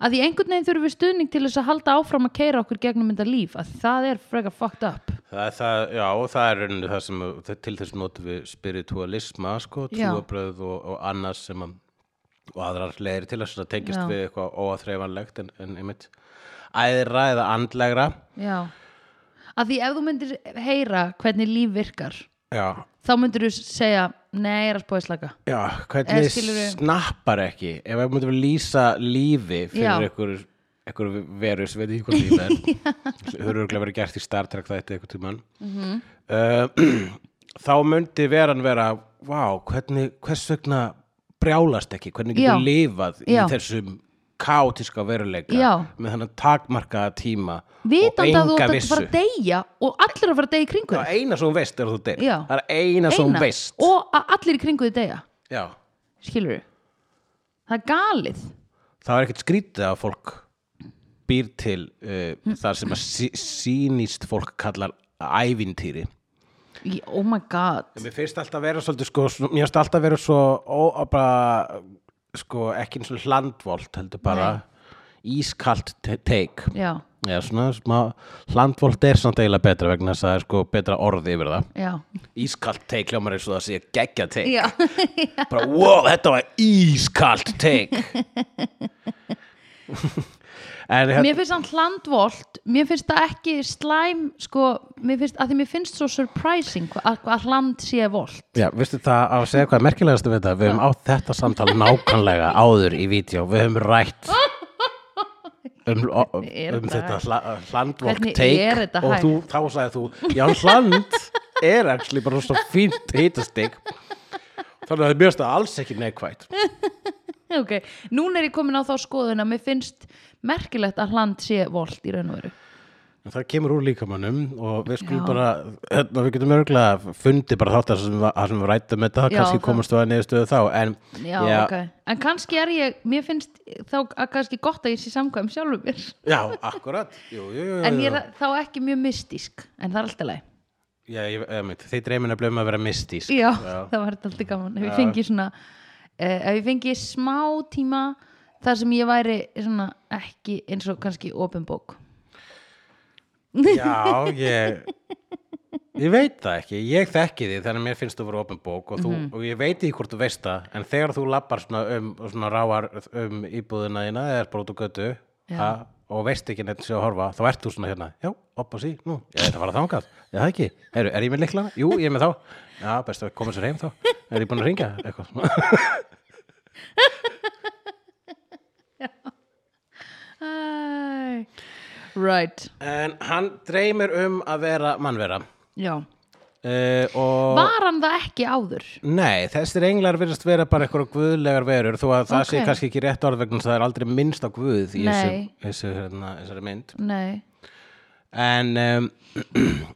S1: að því einhvern veginn þurfum við stuðning til þess að halda áfram að keira okkur gegnum þetta líf, að það er frekar fucked up
S2: það er það, já, og það er rauninni það sem það- til þess notum við spiritualisma sko,
S1: Já.
S2: trúabröð og, og annars sem að, og aðrar leiðir til þess að tengjast
S1: Já.
S2: við eitthvað óaþreifanlegt en, en einmitt æðra eða andlegra
S1: já, að því ef þú myndir heyra hvernig líf virkar
S2: Já,
S1: þá myndir þú segja, nei, ég er að spóið slaka
S2: Já,
S1: Eða
S2: hvernig
S1: skilurðu-
S2: snappar ekki ef við myndum lýsa lífi
S1: Já.
S2: fyrir einhver, einhver veru sem veit ekki hvað
S1: *laughs*
S2: lífi er þau eru örugglega verið gert í Star Trek þetta eitthvað tímann mm
S1: Mhm.
S2: *clears throat* þá myndi veran vera vá, hvernig, hvers vegna brjálast ekki, hvernig
S1: Já.
S2: getur lifað í
S1: Já.
S2: þessum kátiska veruleika
S1: Já.
S2: með þannig takmarkaða tíma
S1: vitandi að þú
S2: og enga
S1: átt að
S2: vissu
S1: fara að deyja og allir að fara að deyja í kringu
S2: það
S1: þig.
S2: er eina sem hún veist er að þú deyr
S1: Já.
S2: það er eina sem hún
S1: Eina.
S2: veist
S1: og að allir í kringu þið deyja
S2: Já.
S1: skilur það er galið
S2: það er ekkert skrítið að fólk býr til
S1: Mm.
S2: uh, þar sem að sí, sýnist fólk kallar ævintýri
S1: Í- oh my god
S2: Mér finnst alltaf vera svolítið sko, svona- mér finnst alltaf vera svo ó, að bara, sko, ekki eins og hlandvolt heldur bara ískalt te- take
S1: já,
S2: Já, svona, smá, hlandvolt er samt eiginlega betra vegna þess að það er sko betra orði yfir það
S1: já,
S2: Ískalt take hljómar eins og það sé geggja take
S1: já.
S2: bara, wow, þetta var ískalt
S1: *laughs*
S2: take En hérna
S1: mér finnst hann hlandvolt mér finnst það ekki slæm sko, mér finnst, að því mér finnst svo surprising hva- að, að hland sé volt
S2: Já, veistu það á að segja hvað er merkilegast við þetta? Við höfum átt þetta samtal nákvæmlega áður í vídeo. Við höfum rætt
S1: *laughs*
S2: um, um,
S1: Er
S2: um
S1: þetta
S2: þetta hla, hlandvokk
S1: Hvernig er
S2: teik
S1: þetta
S2: og þú, þá sagði þú, já, hland er actually bara svo fínt hýtastig. Þannig að það er mjög stað alls ekki neikvægt.
S1: *laughs* ok, núna er ég komin á þá skoðun að mér finnst merkilegt að hland sé volt í raun og veru
S2: En það kemur úr líkamannum og við skulum
S1: Já.
S2: bara, hérna, við getum örgulega fundið bara þátt að sem, við- það sem við rættum þetta,
S1: Já,
S2: kannski
S1: það-
S2: komast þú að niðurstöðu þá, en
S1: já, ok, en kannski er ég mér finnst þá að kannski gott að ég sé samkvæm sjálfum mér
S2: já, akkurat, jú, jú, jú, jú.
S1: en ég er þá ekki mjög mystísk en það er alltaf leið
S2: Já, ég, ég mynd, þeir dreymin að blöma um að vera mystísk
S1: já, *laughs* það var alltaf gaman ef ég fengi svona uh, ef ég fengi smá tíma þar sem ég væri svona ekki eins og kannski open bók
S2: Já, ég Ég veit það ekki, ég þekki því þannig að mér finnst þú vera opin bók og, þú, og ég veit því hvort þú veist það, en þegar þú lappar svona um, og svona ráar um íbúðina þína eða bara út á götu
S1: Já.
S2: ha, og veist ekki neitt sem að horfa, þá ert þú svona hérna, já, opp og sí, nú, ég ætla að fara þangað Já, það ekki, Heru, er ég með liklana? Jú, ég er með þá Já, best að koma sér heim þá Er ég búin að ringa? Eitthvað svona
S1: Æ. right
S2: En hann dreymir um að vera mannvera
S1: já,
S2: uh, og
S1: Var hann það ekki áður?
S2: Nei, þessir englar virðast vera bara eitthvað guðlegar verur þó að það sé
S1: Ok.
S2: kannski ekki rétt orð vegna þess að það er aldrei minnst á guð í þessu,
S1: Nei.
S2: þessu, hérna, þessari mynd
S1: Nei,
S2: en um,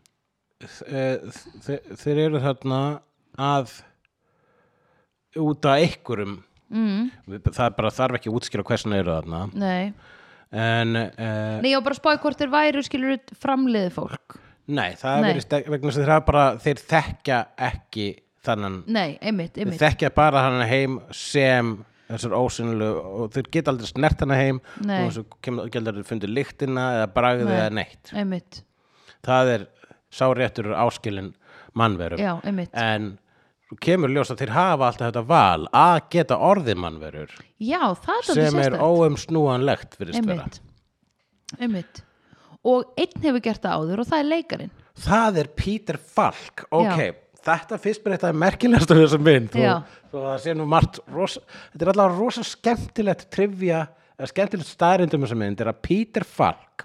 S2: *clears throat* þe- þe- þeir eru þarna að út af einhverjum
S1: mm,
S2: Við- það er bara þarf ekki að útskýra hversin eru þarna
S1: nei
S2: en uh,
S1: Nei, ég var bara að spáði hvort þeir væru skilur framliði fólk
S2: nei, það
S1: Nei.
S2: verðist ekki- vegna þess að þeir, hafa bara, þeir þekkja ekki þannan
S1: Nei, einmitt,
S2: þeir
S1: einmitt
S2: þekkja bara hann heim sem þessar ósynlu og þeir geta aldrei snert hana heim
S1: Nei.
S2: og þessu kemur geta aldrei fundið lyktina eða bragðið
S1: Nei.
S2: eða neitt
S1: Einmitt,
S2: það er sáréttur áskilin mannverum
S1: já, einmitt
S2: en kemur ljós að þeir hafa alltaf þetta val að geta orðið mannverur
S1: Já, það er
S2: sem
S1: þetta
S2: er óumsnúanlegt virðist vera
S1: Einmitt, einmitt Og einn hefur gert það áður og það er leikarinn
S2: það er Peter Falk ok, þetta finnst mér þetta er merkilegast af þessum mynd þú,
S1: Já.
S2: þú það sé nú margt rosa, þetta er allavega rosa skemmtilegt trivja, eða skemmtilegt staðrindum þessum mynd er að Peter Falk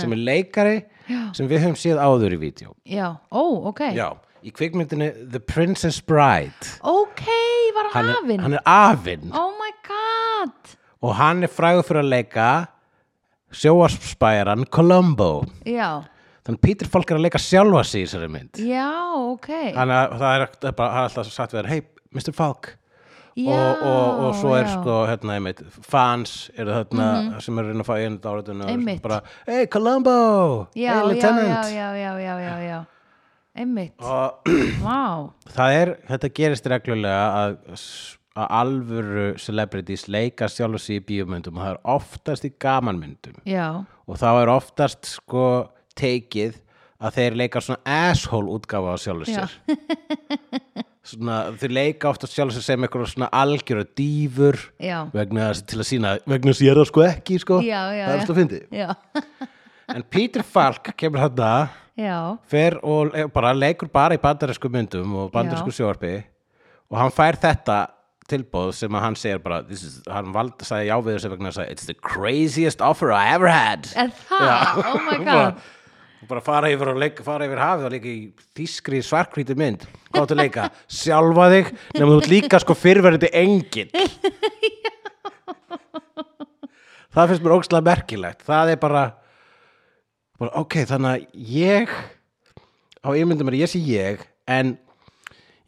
S2: sem er leikari
S1: Já.
S2: sem við höfum séð áður í vídeo
S1: Já, ó, ok
S2: Já, í kvikmyndinni The Princess Bride
S1: Ok, var hann,
S2: hann er,
S1: hafinn
S2: hann er afinn
S1: Oh my god
S2: og hann er frægur fyrir að leika sjóarspæran Columbo
S1: Já,
S2: þannig Peter Falk er að leika sjálfa sig í þessari mynd
S1: já, ok
S2: þannig að það er, það er bara hann er alltaf sagt við þær, hei Mr. Falk
S1: já,
S2: og, og, og svo er
S1: já. Mhm.
S2: sko hérna, einmitt, fans eru þarna sem eru að reyna að fá einu áriðinu og
S1: Einmitt.
S2: sko bara, hey Columbo,
S1: já,
S2: hey
S1: já, já,
S2: Lieutenant
S1: já, já, já, já, já Einmitt,
S2: og
S1: vá
S2: það er, þetta gerist reglulega að, að alvöru celebrities leika sjálfa sig í bíómyndum og það er oftast í gamanmyndum
S1: Já,
S2: og þá er oftast sko teikið að þeir leika svona asshole útgáfa á sjálfur
S1: Já.
S2: sér svona, þeir leika oftast sjálfur sér sem eitthvað svona algjöra dýfur
S1: *laughs* Já.
S2: vegna þess til að sína vegna þess að ég er það sko ekki sko
S1: Já, já,
S2: það
S1: já.
S2: er alltaf fyndi
S1: já,
S2: en Peter Falk kemur hann að
S1: já
S2: fer og le- bara leikur bara í bandarísku myndum og bandarísku sjóarpi og hann fær þetta tilbóð sem að hann segir bara this is, hann valda, sagði já við þessu vegna þess að it's the craziest offer I ever had
S1: Er það, oh my
S2: bara,
S1: god
S2: bara fara yfir og leika, fara yfir hafið og leika í þýskri svarkvíti mynd hvað áttu að leika, sjálfa þig nema þú ert líka sko fyrverandi engin það finnst mér ógstlega merkilegt það er bara, bara ok, þannig að ég á ímyndum er að ég sé ég en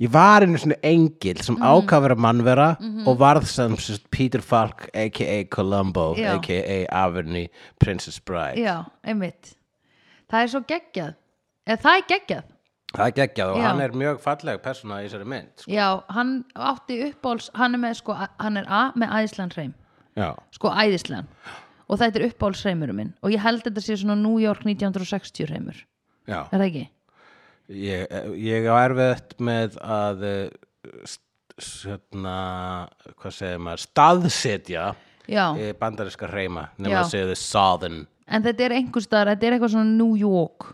S2: ég var einu svona engil sem mm. ákafur að mannvera og varð sem sérst Peter Falk aka Columbo
S1: Já.
S2: aka Averny Princess Bride
S1: Já, einmitt Það er svo geggjað Eða það er geggjað
S2: Það er geggjað og
S1: Já.
S2: hann er mjög falleg persóna í þessari mynd. sko.
S1: Já, hann átti uppbóls Hann er með sko, hann er A með æðislan hreim
S2: Já.
S1: Sko æðislan Og þetta er uppbóls hreimurum minn Og ég held þetta sé svona New York 1960 hreimur
S2: Já.
S1: Er það ekki?
S2: Ég, ég á erfitt með að eh, st- hérna, hvað segir maður, staðsetja
S1: Já,
S2: eh, bandaríska reyma
S1: Já.
S2: nema að segja þið southern.
S1: en þetta er einhvers staðar, þetta er eitthvað svona New York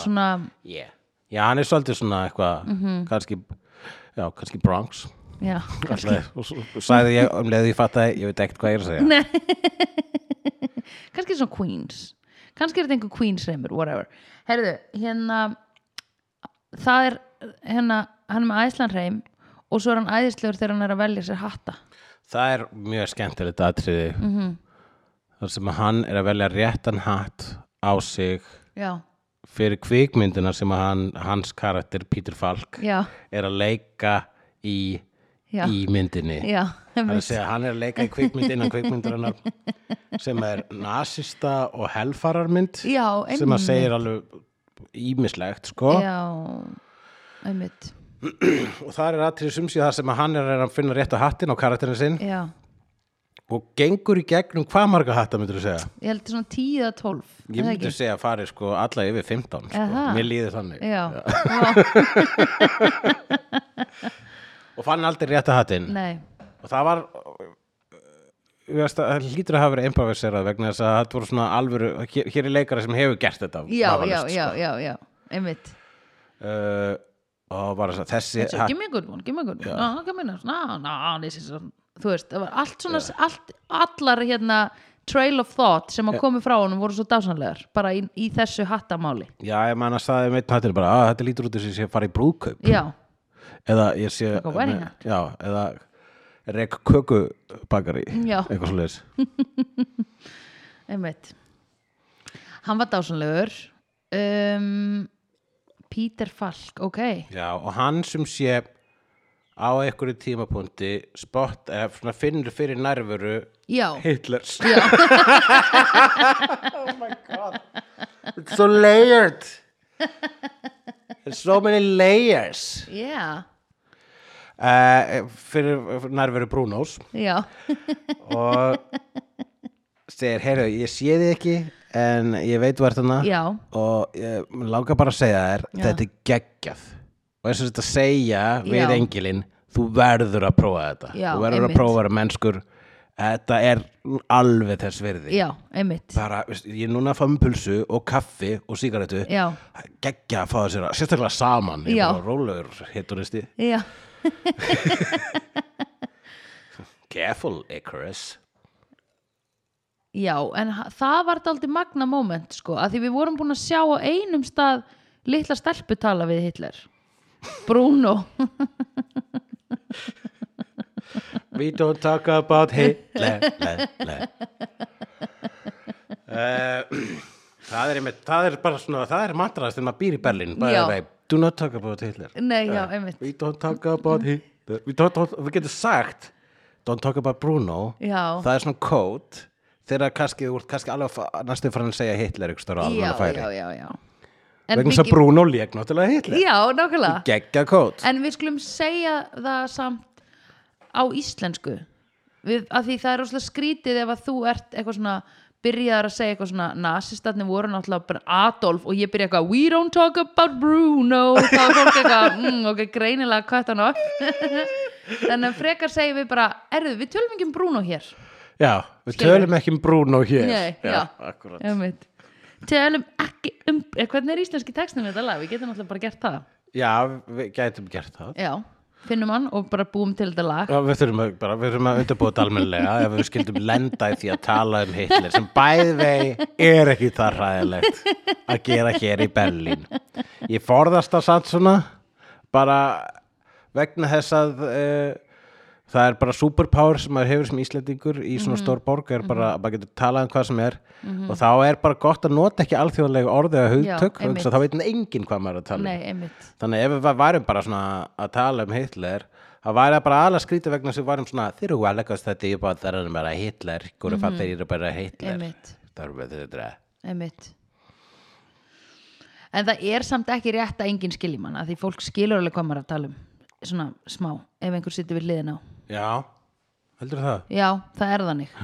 S1: Svona,
S2: Yeah. Já, hann er svolítið svona eitthvað,
S1: Mhm.
S2: kannski, já, kannski Bronx.
S1: já
S2: Alltaf, og svo sagði ég um leiði ég fattaði, ég veit ekkert hvað ég er að segja.
S1: Kannski svona Queens Kannski er þetta einhver Queens reymur, whatever Herðu, hérna Það er, hérna, hann er með æðislan reym Og svo er hann æðislegur þegar hann er að velja sér hatta
S2: Það er mjög skemmtilegt atriði mm
S1: Mhm.
S2: -hmm. þar sem að hann er að velja réttan hatt á sig
S1: Já,
S2: fyrir kvikmyndina sem að hann, hans karakter Peter Falk
S1: já,
S2: er að leika í,
S1: já
S2: í myndinni
S1: Já,
S2: Það er að segja, hann er að leika í kvikmynd innan kvikmyndarinnar
S1: *laughs*
S2: sem er nasista og helfararmynd
S1: já,
S2: sem að
S1: einmitt
S2: segir alveg ímislegt sko
S1: Já, einmitt
S2: og það er aðtrið sumsið það sem að hann er að reyna að finna rétt á hattin á karakterin sinn
S1: Já,
S2: og gengur í gegnum hvað marga hatta myndir þú segja?
S1: ég held svona 10 að 12 er
S2: Ég
S1: það
S2: myndi
S1: ekki?
S2: segja að fari sko alla yfir 15 sko.
S1: Aha.
S2: mér líður þannig
S1: Já,
S2: og fann aldrei rétt á hattin
S1: nei,
S2: og það var þú veist, að- það hlýtur að hafa verið improviserað vegna þess að þetta voru svona alvöru hér, hér er leikari sem hefur gert þetta
S1: já, já,
S2: vafalaust,
S1: já,
S2: sko.
S1: já, já Einmitt
S2: Uh, og bara þess að þessi
S1: So,
S2: hatt-
S1: give me a good one, give me a good one no, give me a nice, no, no, this is a, þú veist, það var allt svona allt, allar hérna trail of thought sem að komi frá honum voru svo dásanlegar bara í, í þessu hattamáli
S2: já, ég man að staði meitt hættir bara að þetta lítur út þess að ég sé að fara í brúðkaup
S1: já,
S2: eða ég sé
S1: Like a wedding
S2: me-
S1: act.
S2: já, eða rek kökubakari
S1: Já.
S2: eitthvað svo leiðis
S1: einmitt hann var dásanlegur um, Peter Falk ok,
S2: já, og hann sem sé á einhverju tímapunkti spott, eða svona finnur fyrir nærveru
S1: já
S2: Hitlers
S1: Já.
S2: *laughs* oh my god it's so layered there's so many layers
S1: yeah.
S2: uh, fyrir nærveru Brúnós
S1: já,
S2: og segir, heyrðu, ég sé þið ekki en ég veit þú ert hana
S1: já
S2: og ég mig langar bara að segja þér
S1: Já.
S2: þetta er geggjað og eins og þetta segja við
S1: Já.
S2: engilinn þú verður að prófa þetta
S1: Já,
S2: þú verður
S1: einmitt.
S2: að prófa að vera mennskur þetta er alveg þess virði
S1: já, einmitt
S2: bara, veist, ég er núna að fá mér pulsu og kaffi og sígarettu
S1: Já.
S2: geggja að fá þessir að, sérstaklega saman ég
S1: Já.
S2: er bara rólegur hitunisti
S1: já,
S2: careful Icarus
S1: já, en ha- það var daldið magna moment sko, að því við vorum búin að sjá á einum stað litla stelpu tala við Hitler
S2: *laughs*
S1: Bruno
S2: we don't talk about Hitler le,
S1: *laughs*
S2: le. Uh, *clears throat* það er einmitt, það er bara svona það er matraðast þegar maður býr í Berlín bara
S1: Já.
S2: vei, do not talk about Hitler
S1: Nei, Eh, já, einmitt
S2: Eh, we don't talk about Hitler we don't, don't, við getum sagt don't talk about Bruno
S1: Já,
S2: það er svona kód þegar kannski, þú ert kannski alveg að fa- næstu farin að segja Hitler ykkur stóra alveg
S1: já,
S2: að færi
S1: já, já, já En
S2: vegna þess að
S1: Biggi-
S2: Bruno lék náttúrulega Hitler
S1: Já, nákvæmlega
S2: geggja kód
S1: En við skulum segja það samt á íslensku við, að því það er rosalega skrítið ef að þú ert eitthvað svona byrjaðar að segja eitthvað svona nasistatni voru náttúrulega bara Adolf og ég byrja eitthvað we don't talk about Bruno þá er fólk eitthvað, *laughs* mm, ok, greinilega cut hann off *laughs* þannig að frekar segjum við bara, erðu, við tölum ekki um Bruno hér
S2: já, við
S1: Skilur.
S2: tölum ekki um Bruno hér
S1: Nei, já.
S2: akkurat
S1: Einmitt. tölum ekki um eh, hvernig er íslenski textin við þetta lag, við getum náttúrulega bara gert það
S2: já, við gætum gert það
S1: já, finnum hann og bara búum til þetta lag
S2: Já, við þurfum að, bara, við þurfum að undirbúa þetta almennilega ef við skildum lenda í því að tala um Hitler sem bæði vei er ekki það ræðilegt að gera hér í Berlín ég forðast það satt svona bara vegna þess að uh, það er bara superpower sem maður hefur sem Íslendingur í
S1: Mhm.
S2: svona stór borg er bara að maður getur talað um hvað sem er og þá er bara gott að nota ekki alþjóðlega orðið að hugtök
S1: Já, einmitt.
S2: Já, þá veit enginn hvað maður er að tala um
S1: nei, einmitt
S2: Þannig ef við værum bara svona að tala um Hitler það væri það bara alveg skrítið vegna sem við værum svona þeir eru velkast þetta ég bara það er bara Hitler hverju mm -hmm. þeir eru bara Hitler
S1: Mhm. Einmitt.
S2: það eru bara þetta
S1: Einmitt. En það er samt ekki rétt að enginn skilji mann að því fólk skilur alveg hvað maður er að tala um svona smá, ef einhver sittur við hliðin á
S2: Já, heldur það?
S1: Já, það er þannig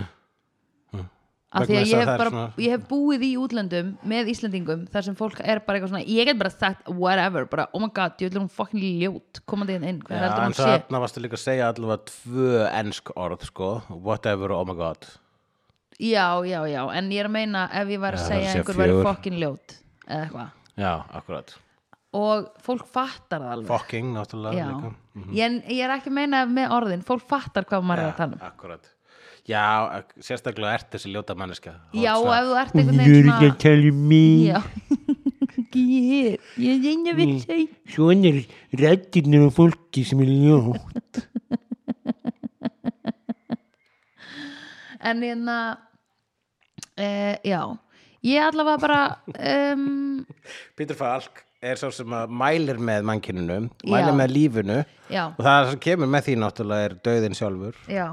S1: Af því
S2: Vegna
S1: að
S2: þess
S1: ég
S2: að
S1: hef,
S2: það er
S1: bara,
S2: svona-
S1: ég hef búið í útlöndum með Íslendingum þar sem fólk er bara eitthvað svona ég get bara sagt whatever, bara oh my god, ég ætlum hún fucking ljót komandi hérna inn, hvað
S2: Já,
S1: heldur
S2: en
S1: hún
S2: það
S1: sé
S2: þarna varstu líka að segja allavega tvö ensk orð sko whatever, oh my god
S1: Já, já, já, en ég er að meina ef ég var að
S2: Já, það er
S1: segja
S2: að segja
S1: einhver væri
S2: fjögur.
S1: fucking ljót eða eitthvað
S2: Já, akkurat
S1: og fólk fattar það alveg
S2: Fucking, náttúrulega
S1: Já,
S2: líka Mhm.
S1: ég, ég er ekki að meina með orðin fólk fattar hvað maður er að tala um
S2: Akkurat Já, ak- sérstaklega ert þessi ljóta manneska
S1: Já, og ef þú ert einhvern veginn svona
S2: tala um mig
S1: Já, *laughs* ég, ég reyna að vera
S2: Mm.
S1: segja
S2: Svona er rættirnir á fólki sem er ljótt
S1: En hérna e, Já, ég allavega bara um,
S2: Pítur Falk er svo sem að mælir með mannkyninu,
S1: Já.
S2: mælir með lífinu
S1: Já,
S2: og það sem kemur með því náttúrulega er döðin sjálfur
S1: já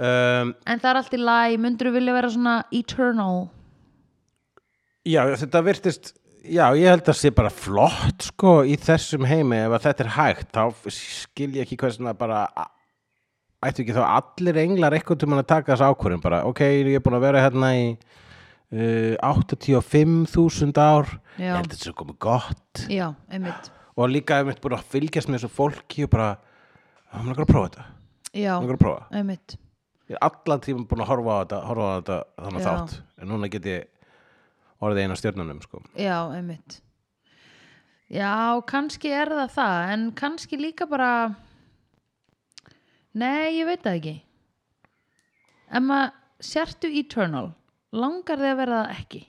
S2: um,
S1: En það er allt í læ, myndur vilja vera svona eternal
S2: Já, þetta virtist Já, ég held að sé bara flott sko í þessum heimi ef að þetta er hægt þá skil ég ekki hvað svona bara a- ættu ekki þá allir englar eitthvað til mann að taka þessu ákvörðum bara ok, ég er búin að vera hérna í uh, 85.000 ár ég
S1: Já.
S2: held að þetta sé komið gott
S1: Já, einmitt
S2: og líka hef mitt búin að fylgjast með þessu fólki og bara, hann langar að prófa þetta hann
S1: Já,
S2: langar að prófa,
S1: einmitt
S2: ég er allan tíma búin að horfa á þetta, horfa á þetta þannig
S1: Já.
S2: þátt, en núna get ég orðið eina stjörnunum sko
S1: Já, einmitt Já, kannski er það það en kannski líka bara Nei, ég veit það ekki En maður sértu eternal langar þið að vera það ekki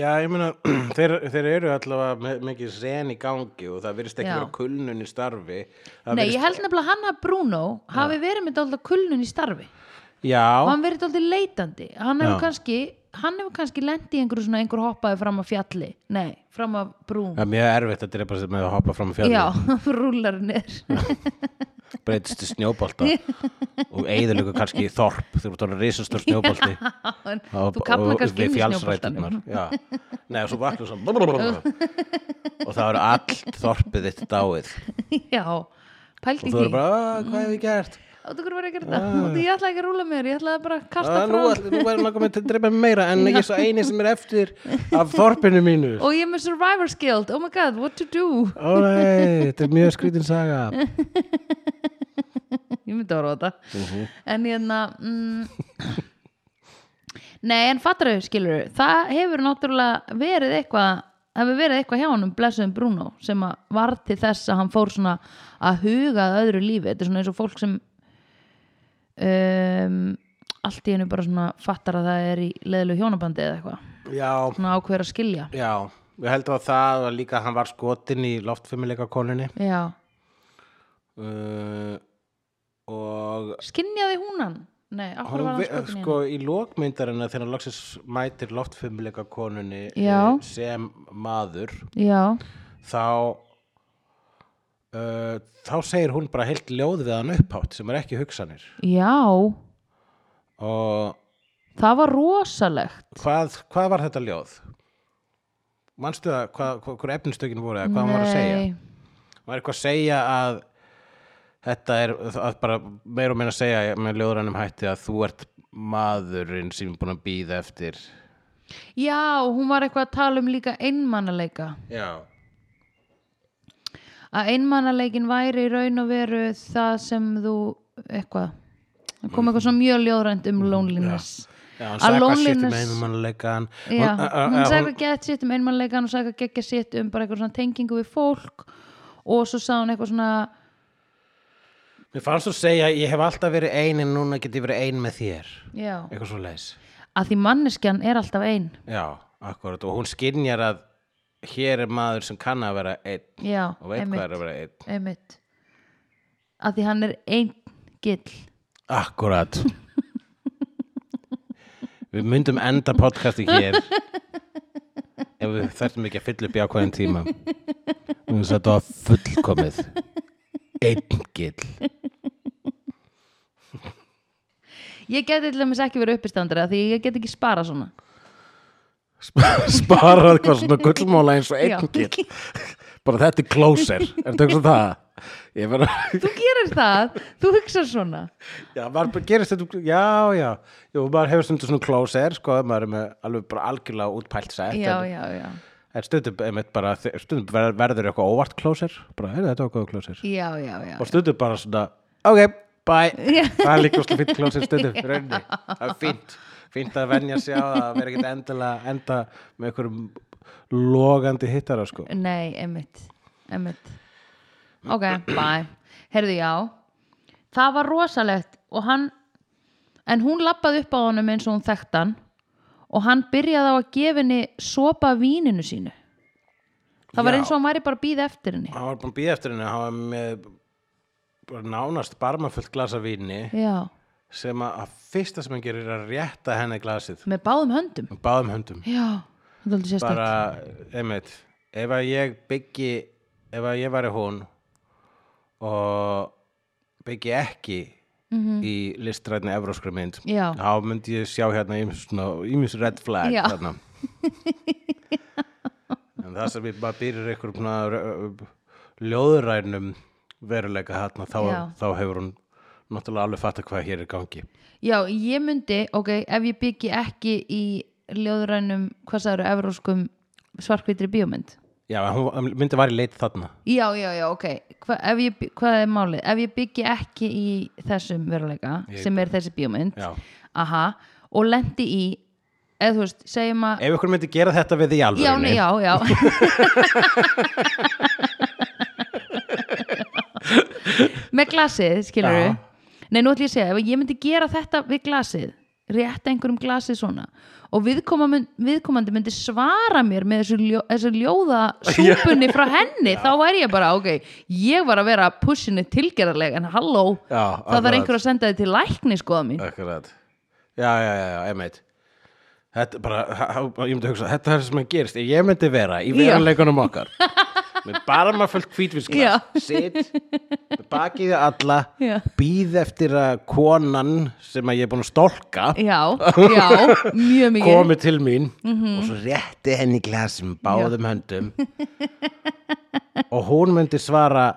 S2: Já, ég meina, *clears throat* þeir, þeir eru allavega með mikið zen í gangi og það virðist ekki
S1: Já.
S2: vera kulnun í starfi. Það
S1: Nei,
S2: virðist-
S1: ég held nefnilega að hann að Bruno hafi verið með dálta kulnun í starfi og
S2: Já,
S1: hann verið dálta leitandi hann hefur
S2: Já.
S1: kannski hann hefur kannski lendi í einhverju svona einhver hoppaði fram af fjalli nei, fram af brún
S2: það er mjög erfitt að drepa sig með að hoppa fram á
S1: já, *laughs*
S2: fjallinu,
S1: rúlar niður
S2: *laughs* breytist í
S1: *laughs*
S2: snjóbolta og eigðurlega kannski í þorp þegar þú tónar risastur snjóbolti.
S1: En
S2: Og-
S1: þú kapnar
S2: og-
S1: kannski
S2: við
S1: inn í snjóboltanum
S2: fjallsræturnar, já. Nei, og svo vaknar svo
S1: *laughs*
S2: og það eru allt þorpið þitt dáið
S1: *laughs* já, pælt í
S2: og þú eru
S1: því
S2: bara, "Ah, hvað hef ég gert?
S1: og þú hverju verið að gera þetta Þú veit, ég ætlaði ekki að rúla mér, ég ætlaði bara að kasta
S2: Ah,
S1: frá
S2: nú, ætl- nú erum langar mig til að drepa mig meira en ég er svo eini sem er eftir af þorpinu mínu
S1: og ég er með survivor's guild, oh my god, what to do *laughs*
S2: Ó nei, þetta er mjög skrítin saga
S1: ég myndi að horfa á þetta
S2: Mhm.
S1: en hérna mm, nei en fattaru skilur það hefur náttúrulega verið eitthvað það hefur verið eitthvað hjá honum blessuðum Bruno sem að var til þess að hann fór svona að huga að öðru lífi þetta er svona eins og fólk sem um, allt í hennu bara svona fattar að það er í leðlu hjónabandi eða eitthvað
S2: Já,
S1: svona ákveður að skilja
S2: já, ég held að það var líka að hann var skotin í loftfimmuleika konunni
S1: já,
S2: uh, og
S1: skinjaði hún hann nei, okkur var
S2: Hún,
S1: hann
S2: ve-
S1: skotin í
S2: sko í lókmyndarinn þegar hann loksins mætir loftfimmuleika konunni
S1: Já.
S2: sem maður
S1: henni já,
S2: þá uh, þá segir hún bara heilt ljóð við hann upphátt sem er ekki hugsanir
S1: já
S2: og
S1: það var rosalegt
S2: hvað, hvað var þetta ljóð? Manstu það, hvað, hvað, hvað efnistökin voru eða hvað hann var að segja?
S1: Nei.
S2: Hann var eitthvað að segja að þetta er að bara meir og meina að segja með ljóðrænum hætti að þú ert maðurinn sem er búin að býða eftir
S1: Já, hún var eitthvað að tala um líka einmanaleika
S2: Já
S1: að einmanaleikin væri í raun og veru það sem þú eitthvað það kom eitthvað svo mjög ljóðrænt
S2: Mm,
S1: um loneliness
S2: Já, hann
S1: Að
S2: sagði hvað sétt um
S1: loneliness-
S2: einmannleikan
S1: Já, hún
S2: uh,
S1: sagði
S2: sagði
S1: eitthvað gett sitt um einmanleikan og sagði eitthvað geggja sitt um bara eitthvað svona tengingu við fólk og svo sagði hún eitthvað svona
S2: Mér fannst þú segja, ég hef alltaf verið ein en núna get ég verið ein með þér
S1: já,
S2: eitthvað svo leis
S1: að því manneskjan er alltaf ein
S2: Já, akkurat, og hún skynjar að hér er maður sem kann að vera einn
S1: já,
S2: og veit hvað er að vera einn
S1: einmitt að því hann er ein gill
S2: Akkurat Við myndum enda podcasti hér ef við þarfum ekki að fylla upp í ákveðin tíma og þetta var fullkomið einn gill
S1: ég geti til dæmis ekki verið uppistandari af því ég get ekki spara svona
S2: Sp- sparað hvað svona gullmóla eins og
S1: Já.
S2: einn gill bara þetta er closer er þetta ekki það ég bara, *laughs*
S1: þú gerir það, þú hugsar svona
S2: já, maður gerist þetta já, já, Jú, maður hefur stundum svona closer sko, maður er með alveg bara algjörlega útpælt sett
S1: já,
S2: en,
S1: já, já,
S2: en stundum, einmitt bara, stundum ver- verður eitthvað óvart closer bara, heyrðu þetta var góð closer
S1: já, já, já.
S2: og stundum bara svona, ok, bye
S1: Já.
S2: það er líka svona fínt closer stundum í rauninni, það er fínt fínt að venja sig á það, að vera ekkert endilega enda með einhverjum logandi hittara sko
S1: nei, emitt emitt
S2: *clears throat*
S1: ok, bye, heyrðu já það var rosalegt og hann en hún lappaði upp á honum eins og hún þekkt hann og hann byrjaði á að gefa henni sopa af víninu sínu það var
S2: Já.
S1: eins og hann væri bara að býða eftir henni
S2: hann var búin að býða eftir henni hann var með bara nánast barmafullt glasa víni
S1: já,
S2: sem að, að fyrsta sem hann gerir er að rétta henni glasið
S1: með báðum höndum
S2: með báðum höndum
S1: já, þetta er aldrei sérstætt
S2: bara, einmitt ef að ég byggi ef að ég væri hún og byggi ekki í listrætni evróskri mynd
S1: Mhm. Já.
S2: þá myndi ég sjá hérna ýmis svona- ýmis red flag
S1: Já.
S2: þarna
S1: *laughs*
S2: en það sem ég bara byrjur ykkur ljóðurænum veruleika hérna
S1: Já.
S2: þá, þá hefur hún náttúrulega alveg fatta hvað hér er í gangi
S1: Já, ég myndi, ok, ef ég byggi ekki í ljóðrænum, hvað sagður, evróskum svarkvitri bíómynd?
S2: já, en hún hún myndi var í leit þarna
S1: Já, já, já, ok, Hva, ef ég, by- hvað er málið? Ef ég byggi ekki í þessum veruleika,
S2: Ég-
S1: sem er þessi bíómynd,
S2: já.
S1: aha, og lendi í, eða þú veist, segjum að,
S2: ef ykkur myndi gera þetta við í alveg
S1: já, nei, já, já, með glasið, skilur Nei, nú ætlum ég að segja, ef ég myndi gera þetta við glasið, rétt einhverjum glasi svona og viðkoma mun, viðkomandi myndi svara mér með þessu, ljó, þessu ljóða súpunni frá henni, þá væri ég bara ok, ég var að vera pushinu tilgerðarleg, en halló
S2: Já,
S1: það
S2: akkurat.
S1: þarf einhver að senda þið til lækni skoða mín
S2: Akkurat Já, já, já, já, einmitt Þetta er bara, ha- ha- ég myndi hugsa Þetta er það sem að gerist, ef ég myndi vera í
S1: Já.
S2: veruleikunum okkar með barma fullt
S1: Já.
S2: hvítvinsglas sitt, með bakið í alla
S1: Já.
S2: býð eftir að konan sem að ég er búin að stólka
S1: já, já, mjög mikið Mhm.
S2: komi til mín og svo rétti henni glasum báðum höndum og hún myndi svara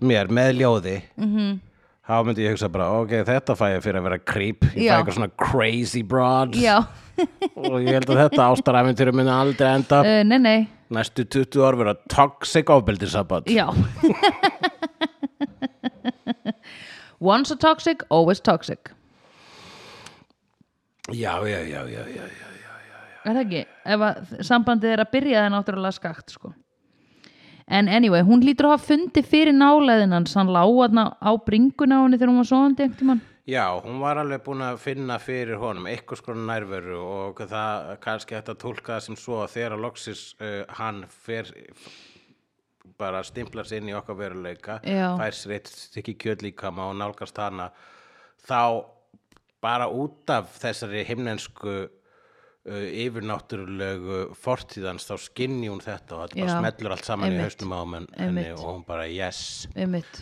S2: mér með ljóði
S1: Mhm.
S2: þá myndi ég hugsa bara ok, þetta fæ ég fyrir að vera creep ég
S1: Já.
S2: fæ eitthvað svona crazy broad
S1: já,
S2: og ég held að þetta ástaræfintur minna aldrei
S1: *laughs*
S2: enda
S1: uh, nei, nei,
S2: næstu 20 ár vera toxic ofbeldisabbat
S1: já once a toxic, always toxic
S2: já, já, já, já, já, já.
S1: er það ekki, ef að sambandið er að byrja það er náttúrulega skakt sko. en anyway, hún lítur að hafa fundið fyrir nálæðin hans, hann láðna á bringuna á henni þegar hún var svoandi einhvern tímann
S2: Já, hún var alveg búin að finna fyrir honum eitthvað skona nærveru og það kannski hægt að tólka það sem svo að þegar að loksis uh, hann fer bara stimplar sig inn í okkar veruleika
S1: Já.
S2: fær sér eitt stykki kjöllíkama og nálgast hana þá bara út af þessari himnensku uh, yfirnáttúrulegu fortíðans þá skinni hún þetta og þetta bara
S1: Já.
S2: smellur allt saman í
S1: Einmitt.
S2: haustum á henn- henni
S1: Einmitt.
S2: og hún bara yes
S1: einmitt,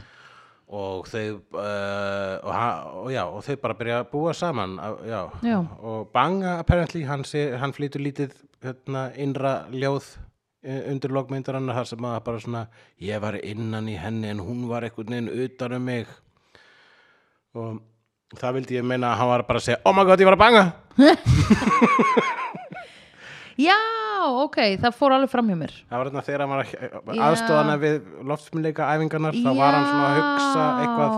S2: og þau uh, og, ha, og, já, og þau bara byrja að búa saman að- já.
S1: Já.
S2: og Banga apparently hann, sé, hann flytur lítið hérna, innra ljóð eh, undir lokmyndarann þar sem að bara svona ég var innan í henni en hún var einhvern veginn utan um mig og það vildi ég meina að hann var bara að segja oh my god ég var að banga
S1: já, ok það fór alveg fram hjá mér
S2: það var þarna þegar hann var að
S1: Já.
S2: aðstofana við loftsmynleika æfingarnar þá var hann svona að hugsa eitthvað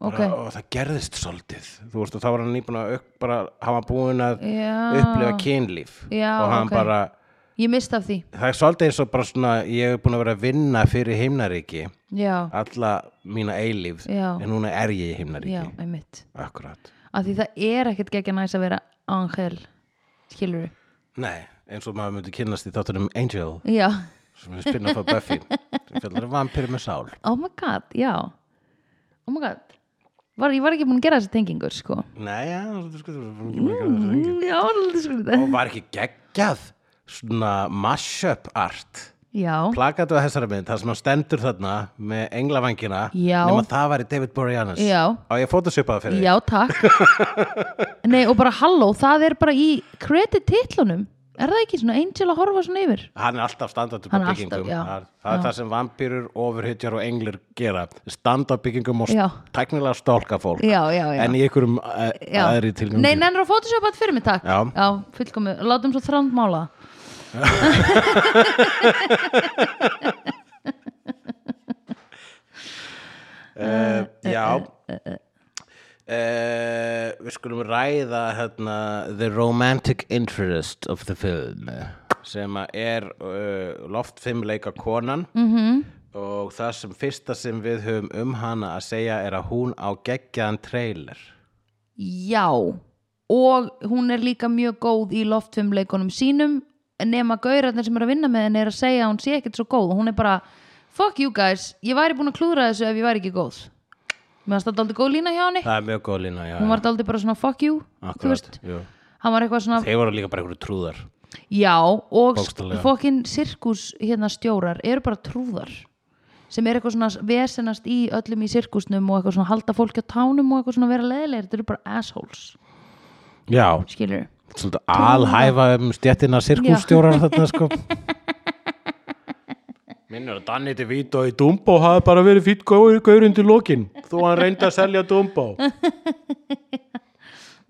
S1: ok,
S2: bara, og það gerðist svolítið þú veist og þá var hann nýbúin að upp, bara, hann var búin að
S1: Já.
S2: upplifa kynlíf
S1: Já,
S2: og hann
S1: ok.
S2: bara,
S1: ég mist af því
S2: það er svolítið eins og bara svona ég hef búin að vera að vinna fyrir heimnaríki
S1: já,
S2: alla mína eilíf
S1: Já.
S2: en núna er ég í heimnaríki
S1: já, einmitt
S2: akkurat,
S1: af því það er ekkert geggja næs að vera angel, skilur
S2: nei, eins og maður myndi kynnast í þáttunum Angel
S1: já,
S2: sem er spinn af Buffy sem fjallar um vampir með sál
S1: oh my god, já oh my god var, ég var ekki búin að gera þessa tengingur sko
S2: nei, já, þú sko, þú sko
S1: Mm, Já, svolítið skrítið.
S2: og var ekki geggjað svona mashup art
S1: Já,
S2: plakatu að þessari mynd, það sem hann stendur þarna með englavangina
S1: Já.
S2: nema það væri David Boreanaz
S1: Já.
S2: á ég fótosjöpaði fyrir
S1: já, takk.
S2: *laughs*
S1: Nei, og bara halló, það er bara í credit titlunum. Er það ekki svona Angel að horfa svona yfir?
S2: hann er alltaf standart upp
S1: Hann
S2: á
S1: er alltaf,
S2: byggingum
S1: já.
S2: það, það er það sem vampýrur, ofurhytjar og englir gera standa á byggingum og
S1: Já.
S2: tæknilega stálka fólk
S1: Já, já, já.
S2: en í einhverjum uh,
S1: já.
S2: aðri tilgangi
S1: Nei, nennir að photoshopa þetta fyrir mig, takk.
S2: Já.
S1: já fullkomið. Látum svo þránd mála.
S2: uh, já
S1: Eh,
S2: Uh, við skulum ræða hérna, the romantic interest of the film sem að er uh, loftfimleika konan
S1: Mhm.
S2: -hmm. og það sem fyrsta sem við höfum um hana að segja er að hún á geggjaðan trailer
S1: Já, og hún er líka mjög góð í loftfimleikunum sínum nema gaurarnir sem eru að vinna með henni er að segja að hún sé ekkert svo góð og hún er bara fuck you guys, ég væri búin að klúðra þessu ef ég væri ekki góð. Mér fannst þetta aldrei góð lína hjá henni.
S2: það er mjög góð lína já,
S1: hún var aldrei bara svona fuck you þú
S2: akkurat,
S1: veist,
S2: jú.
S1: hann var eitthvað svona
S2: þeir voru líka bara einhverju trúðar
S1: já og
S2: Bókstaflega.
S1: fokkin sirkus hérna stjórar eru bara trúðar sem er eitthvað svona vesenast í öllum í sirkusnum og eitthvað svona halda fólki á tánum og eitthvað svona vera leðilegir, þetta eru bara assholes
S2: já,
S1: skilur
S2: svolítið alhæfa um stjættina sirkústjórar
S1: *laughs*
S2: þarna sko Minnur að Danny DeVito í Dumbo hafi bara verið fýtt góður gaurinn til lokin þó hann reyndi að selja
S1: *laughs*
S2: Dumbo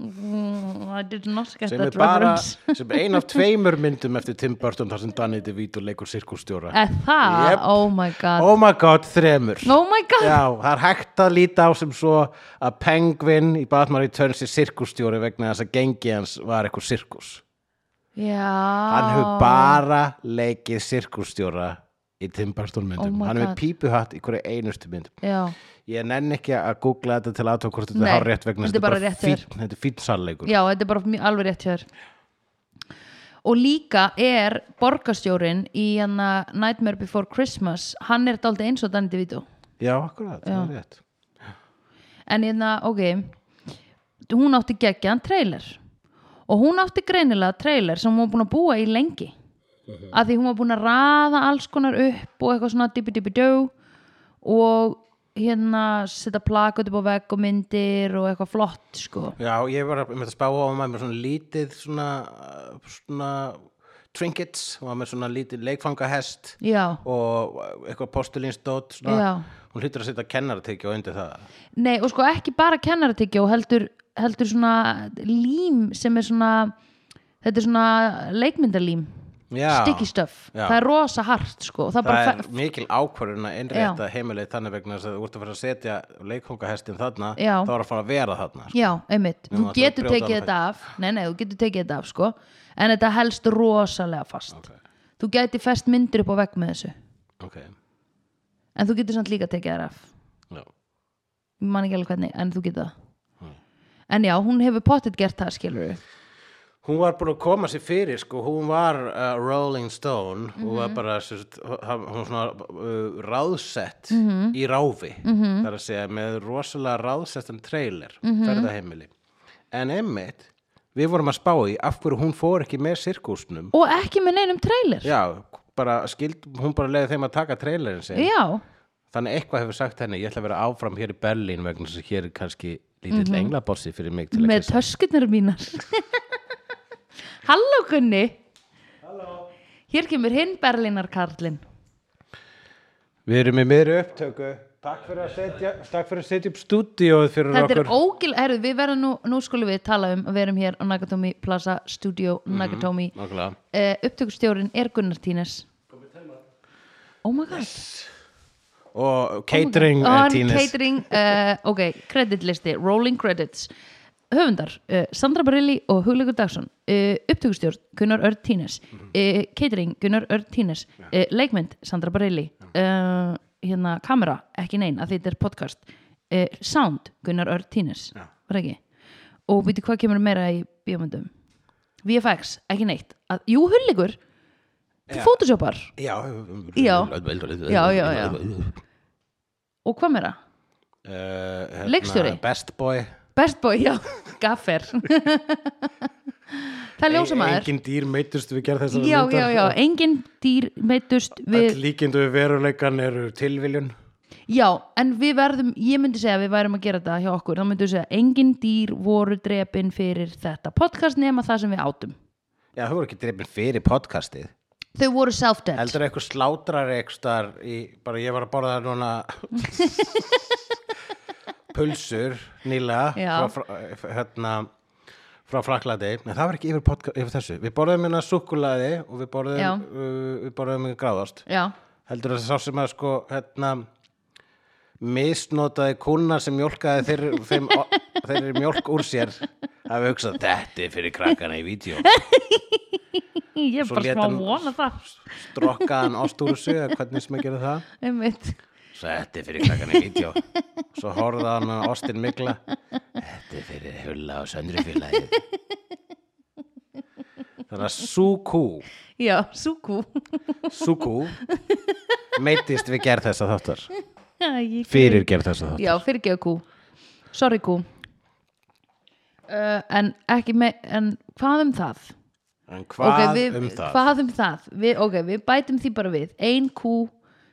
S1: Mm, I did not get
S2: sem er
S1: that
S2: bara
S1: reference
S2: sem er ein af tveimur myndum eftir Tim Burton þar sem Danny DeVito leikur sirkústjóra
S1: Eh, það,
S2: Yep.
S1: oh my god oh,
S2: Oh my god, þremur
S1: my god,
S2: Já, það er hægt að líta á sem svo að Penguin í Batman Returns er sirkústjóri vegna þess að gengi hans var eitthvað sirkus
S1: já
S2: Hann hefur bara leikið sirkústjóra í Tim Burton
S1: Oh
S2: myndum
S1: my
S2: hann er
S1: God.
S2: með pípuhatt í hverju einustu mynd
S1: já,
S2: ég nenn ekki að googla þetta til aðtók hvort þetta
S1: Nei,
S2: er hár rétt vegna
S1: þetta er
S2: þess að
S1: bara rétt hjá
S2: fínn- þetta er fín sannleikur
S1: já, þetta er bara mjög- alveg rétt hjá þér og líka er borgarstjórin í hana Nightmare Before Christmas hann er dálítið eins og Danny DeVito
S2: já, akkurat, það er rétt
S1: en hérna, ok hún átti geggjaðan trailer og hún átti greinilega trailer sem hún var búin að búa í lengi
S2: Mhm.
S1: af því hún var búin að raða alls konar upp og eitthvað svona dippi-dippi-dó og hérna setja plakut upp á vegg og myndir og eitthvað flott sko
S2: já, ég var að- með að spá á hann var með svona lítið svona, uh, svona trinkets, hann var með svona lítið leikfangahest
S1: já,
S2: og uh, eitthvað postulínsdót
S1: Já.
S2: svona, hún hlýtur að setja kennaratekju undir það
S1: nei og sko ekki bara kennaratyggja og heldur, heldur svona lím sem er svona þetta er svona leikmyndalím
S2: Já.
S1: sticky stuff,
S2: Já.
S1: það er rosa hart sko og það,
S2: það
S1: bara
S2: er mikil ákvörðun að innrétta heimilið þannig vegna þess að þú ert að fara að setja leikfangahestin þarna,
S1: Já.
S2: þá er að fara að vera þarna sko.
S1: Já, einmitt,
S2: Nema
S1: þú
S2: að það
S1: getur
S2: brjóta
S1: tekið
S2: hana
S1: þetta af Nei, nei, þú getur tekið þetta af sko En þetta helst rosalega fast Þú gæti fest myndir upp á vegg með þessu
S2: sko. ok,
S1: En þú getur samt líka tekið þær af
S2: já,
S1: Ég man ekki alveg hvernig, en þú getur það
S2: Hmm.
S1: En já, hún hefur pottet gert það, skilur við
S2: Hún var búin að koma sér fyrir, sko, hún var uh, Rolling Stone, hún
S1: Mhm.
S2: var bara, sérst, hún var svona uh, ráðsett
S1: Mhm.
S2: í ráfi, -hmm. þar að segja, með rosalega ráðsettan trailer,
S1: Mhm.
S2: ferðaheimili. En emmitt, við vorum að spá í af hverju hún fór ekki með sirkúsnum.
S1: Og ekki með neinum trailer
S2: Já, bara skild, hún bara leiði þeim að taka trailerin sinn.
S1: Já,
S2: Þannig eitthvað hefur sagt henni, ég ætla að vera áfram hér í Berlín vegna þess að hér er kannski lítill englabossi fyrir mig til að
S1: Mhm. með
S2: kyssa.
S1: töskunar mínar
S2: *laughs*
S1: Halló Gunni Halló Hér kemur hinn Berlínar Karlinn
S2: Við erum í miðri upptöku. Takk fyrir að setja, takk fyrir að setja upp stúdíóið fyrir
S1: Þetta er
S2: okkur.
S1: ógil, herru, við verðum nú, nú skulum við tala um að við erum hér á Nagatomi Plaza Studio Nagatomi mm
S2: Nákvæmlega.
S1: Upptökustjórin er Gunnar Tínes Oh my god
S2: Og catering
S1: oh,
S2: oh
S1: hann
S2: tínis.
S1: Catering, uh, ok, kreditlisti, rolling credits Höfundar, uh, Sandra Barilli og Hugleikur Dagsson uh, Upptökustjórn, Gunnar Örn Tínes uh, Catering, Gunnar Örn Tínes uh, Leikmynd, Sandra Barilli uh, Hérna, kamera, ekki nein að þetta er podcast uh, Sound, Gunnar Örn Tínes
S2: Já.
S1: Var ekki? Og býtu hvað kemur meira í bíómyndum? VFX, ekki neitt að, Jú, Hugleikur,
S2: Já.
S1: þú photoshopar
S2: Já.
S1: Já. Já, já, já. Og hvað meira?
S2: Uh, hérna,
S1: Leikstjóri?
S2: Best boy.
S1: Best boy, já, gaffer Það er ljósamaður
S2: Engin dýr meittust við gerð þessar
S1: Já, já, já, engin dýr meittust
S2: Við...
S1: við,
S2: Líkindu við veruleikan eru tilviljun.
S1: já, en við verðum ég myndi segja að við værum að gera þetta hjá okkur þá myndi við segja að engin dýr voru drepin fyrir þetta podcast nema það sem við átum
S2: Já, þau voru ekki drefin fyrir podcastið.
S1: þau voru self-dead
S2: Heldur eitthvað slátrar eitthvað í, bara ég var að borða það
S1: *laughs*
S2: núna pulsur nýlega
S1: Já.
S2: frá, frá, hérna, frá fraklaði, en það var ekki yfir, podca- yfir þessu, við borðum hérna súkkulaði og við
S1: Já.
S2: borðum, uh, við borðum hérna gráðast,
S1: já,
S2: heldur það sá sem að sko hérna misnotaði kúna sem mjólkaði þeir, þeim,
S1: *laughs*
S2: þeir mjólk úr sér hafi hugsað þetta er fyrir krakkana í
S1: *laughs*
S2: vídeo
S1: ég er
S2: Svo
S1: bara
S2: lét
S1: smá
S2: hann-
S1: vona það
S2: strokkaðan ástúrusu eða hvernig sem að gera það
S1: einmitt,
S2: Svo þetta er fyrir krakkan í vídeo Svo horfða hann að Austin Mikla Þetta er fyrir hulla og söndri félagið Þannig að Súkú
S1: já, súkú
S2: Súkú Meittist við gerð þessa þáttar
S1: *laughs* Æ,
S2: Fyrir gerð þessa þáttar
S1: Já, fyrirgeðu kú Sorry kú uh, En ekki með En hvað um það?
S2: En hvað
S1: Ok, við,
S2: um það?
S1: Hvað um það? Við, ok, við bætum því bara við Ein kú,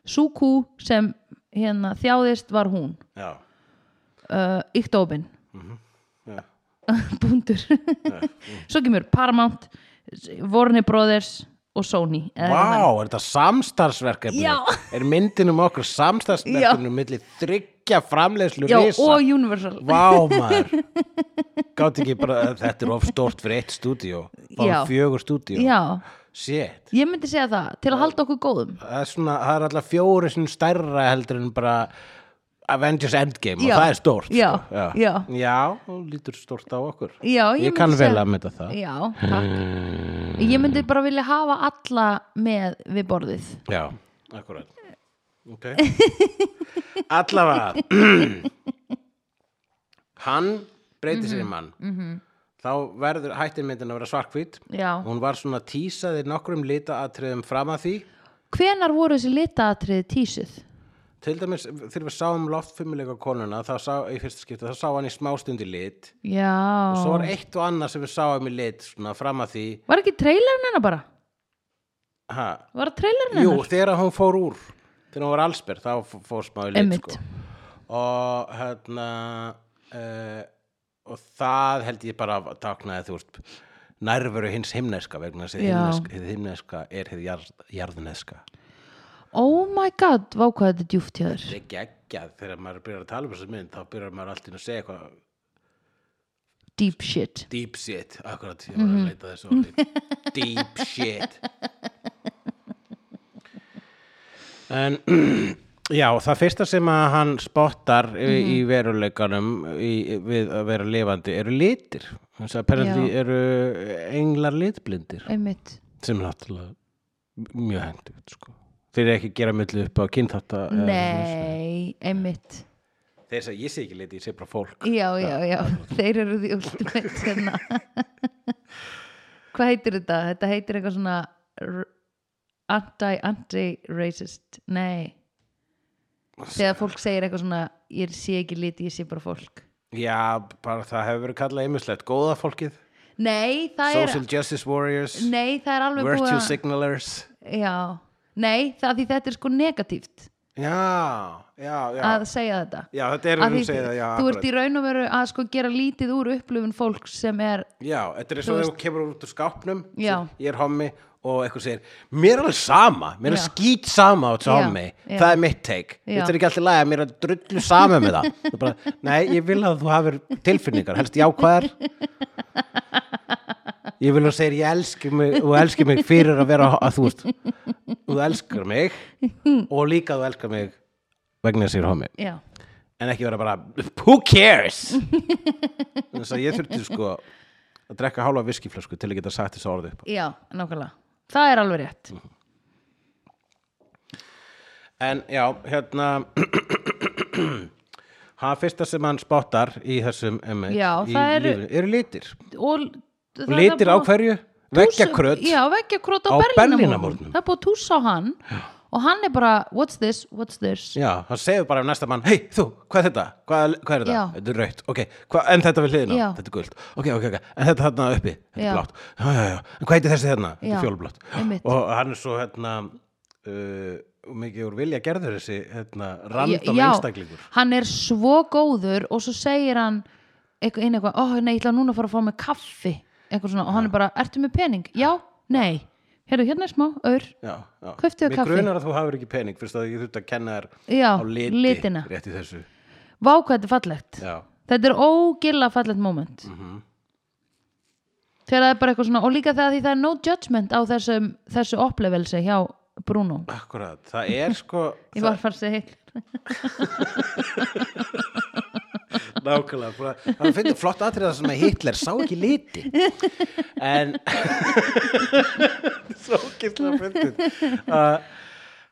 S1: sú kú sem hérna þjáðist var hún
S2: Já,
S1: uh, Íktóbin
S2: Mhm, já.
S1: *laughs* Búndur Svo kemur Paramount Warner Brothers og Sony eða
S2: Vá,
S1: eitthvað.
S2: er þetta samstarfsverkefni?
S1: Já.
S2: Er myndin um okkur samstarfsverkefni milli þryggja framleiðslu
S1: Já,
S2: risa?
S1: og Universal
S2: Vá maður Gátt ekki bara Þetta er of stórt fyrir eitt stúdíó
S1: Já.
S2: Bara fjögur stúdíó
S1: Já,
S2: Shit
S1: ég myndi segja það Til að halda okkur góðum
S2: Það er, svona, það er alltaf fjóri sinni stærra heldur en bara Avengers Endgame
S1: Já.
S2: og það er stórt
S1: Já.
S2: Sko.
S1: Já.
S2: Já, og lítur stórt á okkur
S1: Já, ég
S2: Ég
S1: myndi
S2: kann vel
S1: segja-
S2: að mynda það
S1: Já, takk Ég myndi bara vilja hafa alla með við borðið
S2: Já,
S1: *laughs*
S2: Akkurat Ok Allavega *clears throat* Hann breytir sér
S1: Mhm,
S2: í mann Þá verður hættir myndin að vera svarkvít
S1: Já.
S2: Hún var svona tísaði nokkrum litaatriðum fram að því
S1: Hvenar voru þessi litaatriði tísuð?
S2: Til dæmis þegar við sáum loftfumuleika konuna þá sá, í fyrsta skipti, þá sá hann í smástundi lit
S1: Já.
S2: Svo var eitt og annað sem við sáum í lit svona fram að því
S1: Var ekki trailerin hennar bara?
S2: ha,
S1: Var það trailerin
S2: Jú,
S1: hennar?
S2: þegar hún fór úr þegar hún var allsberð, þá f- fór smá í lit
S1: Einmitt.
S2: sko. og hérna uh, og það held ég bara að taknaði þú veist nærveru hins himneska vegna þess að hið
S1: Já.
S2: himneska- hið himneska er hið jarð, jarðneska
S1: Oh my god, vá hvað þetta er djúft hjá þér.
S2: þetta er geggjað þegar maður byrjar að tala um þessu mynd þá byrjar maður allt í einu að segja eitthvað
S1: Deep shit.
S2: deep shit, akkurat ég var
S1: Mhm.
S2: að leita þessu orði
S1: *laughs*
S2: deep shit en *clears throat* já, það fyrsta sem að hann spottar í,
S1: Mhm.
S2: í veruleikanum í, við að vera lifandi eru litir þess að apparently
S1: Já.
S2: eru englar litblindir
S1: Einmitt.
S2: sem er náttúrulega mjög hendugt sko þeir eru ekki að gera millu upp á kynþátta eða svona.
S1: Nei, einmitt.
S2: þeir segja ég sé ekki liti, ég sé bara fólk
S1: Já, já, já. *laughs* Þeir eru því ultimate hérna. hvað heitir þetta? Þetta heitir eitthvað svona r- anti, anti-racist. Nei. Þegar fólk segir eitthvað svona, ég sé ekki liti, ég sé bara fólk.
S2: já, bara það hefur verið kallað einmislegt góða fólkið,
S1: Nei, það
S2: social
S1: er...
S2: justice warriors
S1: Nei, það er alveg búið
S2: Virtue
S1: að...
S2: signalers
S1: Já, nei, það því þetta er sko negatíft
S2: Já, já, já
S1: að segja þetta
S2: Já, þetta er
S1: Af
S2: að
S1: því
S2: þú segir það, já
S1: þú
S2: akkurat.
S1: ert í raun og veru að sko gera lítið úr upplifun fólks sem er
S2: Já, þetta er eins og þegar þú kemur út úr skápnum
S1: Já.
S2: sem Ég er hommi og eitthvað segir Mér er alveg sama, mér er
S1: Já.
S2: skýt sama á þessu
S1: Já,
S2: hommi
S1: já.
S2: Það er mitt take
S1: Já.
S2: Þetta er ekki alltaf læg að mér er drullu sama með það Það er bara, Nei, ég vil að þú hafir tilfinningar helst jákvæðar Ég vil að þú segir ég elski mig og elski mig fyrir að vera að þú veist þú elskar mig og líka þú elskar mig vegna þess að ég er hommi
S1: já,
S2: en ekki vera bara who cares þess að ég þurfti sko að drekka hálfa viskiflösku til að geta sagt þessu orði upp
S1: já, nákvæmlega það er alveg rétt
S2: Mhm. en já, hérna *clears throat* hann fyrsta sem hann spottar í þessum emmi
S1: Já,
S2: í
S1: það eru-
S2: lífinu, eru litir
S1: og, það
S2: og
S1: er
S2: litir á
S1: búið-
S2: hverju,
S1: tússa-
S2: veggjakrödd
S1: já, veggjakröt á,
S2: á Berlínarmúrnum.
S1: Berlínamórnum það er búið að túsa á hann og hann er bara, what's this, what's this
S2: já, hann segir bara um næsta mann hei, þú, hvað er þetta, hvað, hvað er þetta
S1: Já.
S2: þetta er raut, ok, hva, en þetta við hliðina
S1: Já.
S2: þetta er guld, ok, ok, ok, en þetta þarna uppi þetta
S1: Já.
S2: er blátt, já, já, já, en hvað heitir þessi þarna þetta
S1: Já,
S2: er fjólublátt,
S1: einmitt.
S2: og hann er svo hérna uh, mikið úr vilja gerður þessi hérna, random
S1: já,
S2: einstaklingur
S1: hann er svo góður og svo segir hann eitthvað inn eitthvað, oh nei, ég ætla núna að fara að fá mig kaffi eitthvað svona, og hann er bara, ertu með pening? Já, nei, hérna, hérna er smá, ör
S2: já, já,
S1: Kauptu þér
S2: mig
S1: kaffi?
S2: grunar að þú hafur ekki pening fyrst að ég þurft að kenna þér
S1: já,
S2: á liti,
S1: litina,
S2: rétt í þessu
S1: vá hvað þetta er fallegt
S2: já, Mhm.
S1: þetta er ógilla fallegt moment þegar það er bara eitthvað svona og líka þegar því það er no judgment á þessum, þessu opplevelse hjá Bruno
S2: akkurat, það er sko
S1: ég var að fara að segja heil
S2: Nákvæmlega, bara, hann finnir flott atriða sem að Hitler sá ekki liti en *laughs* svo kýrslega fyndið að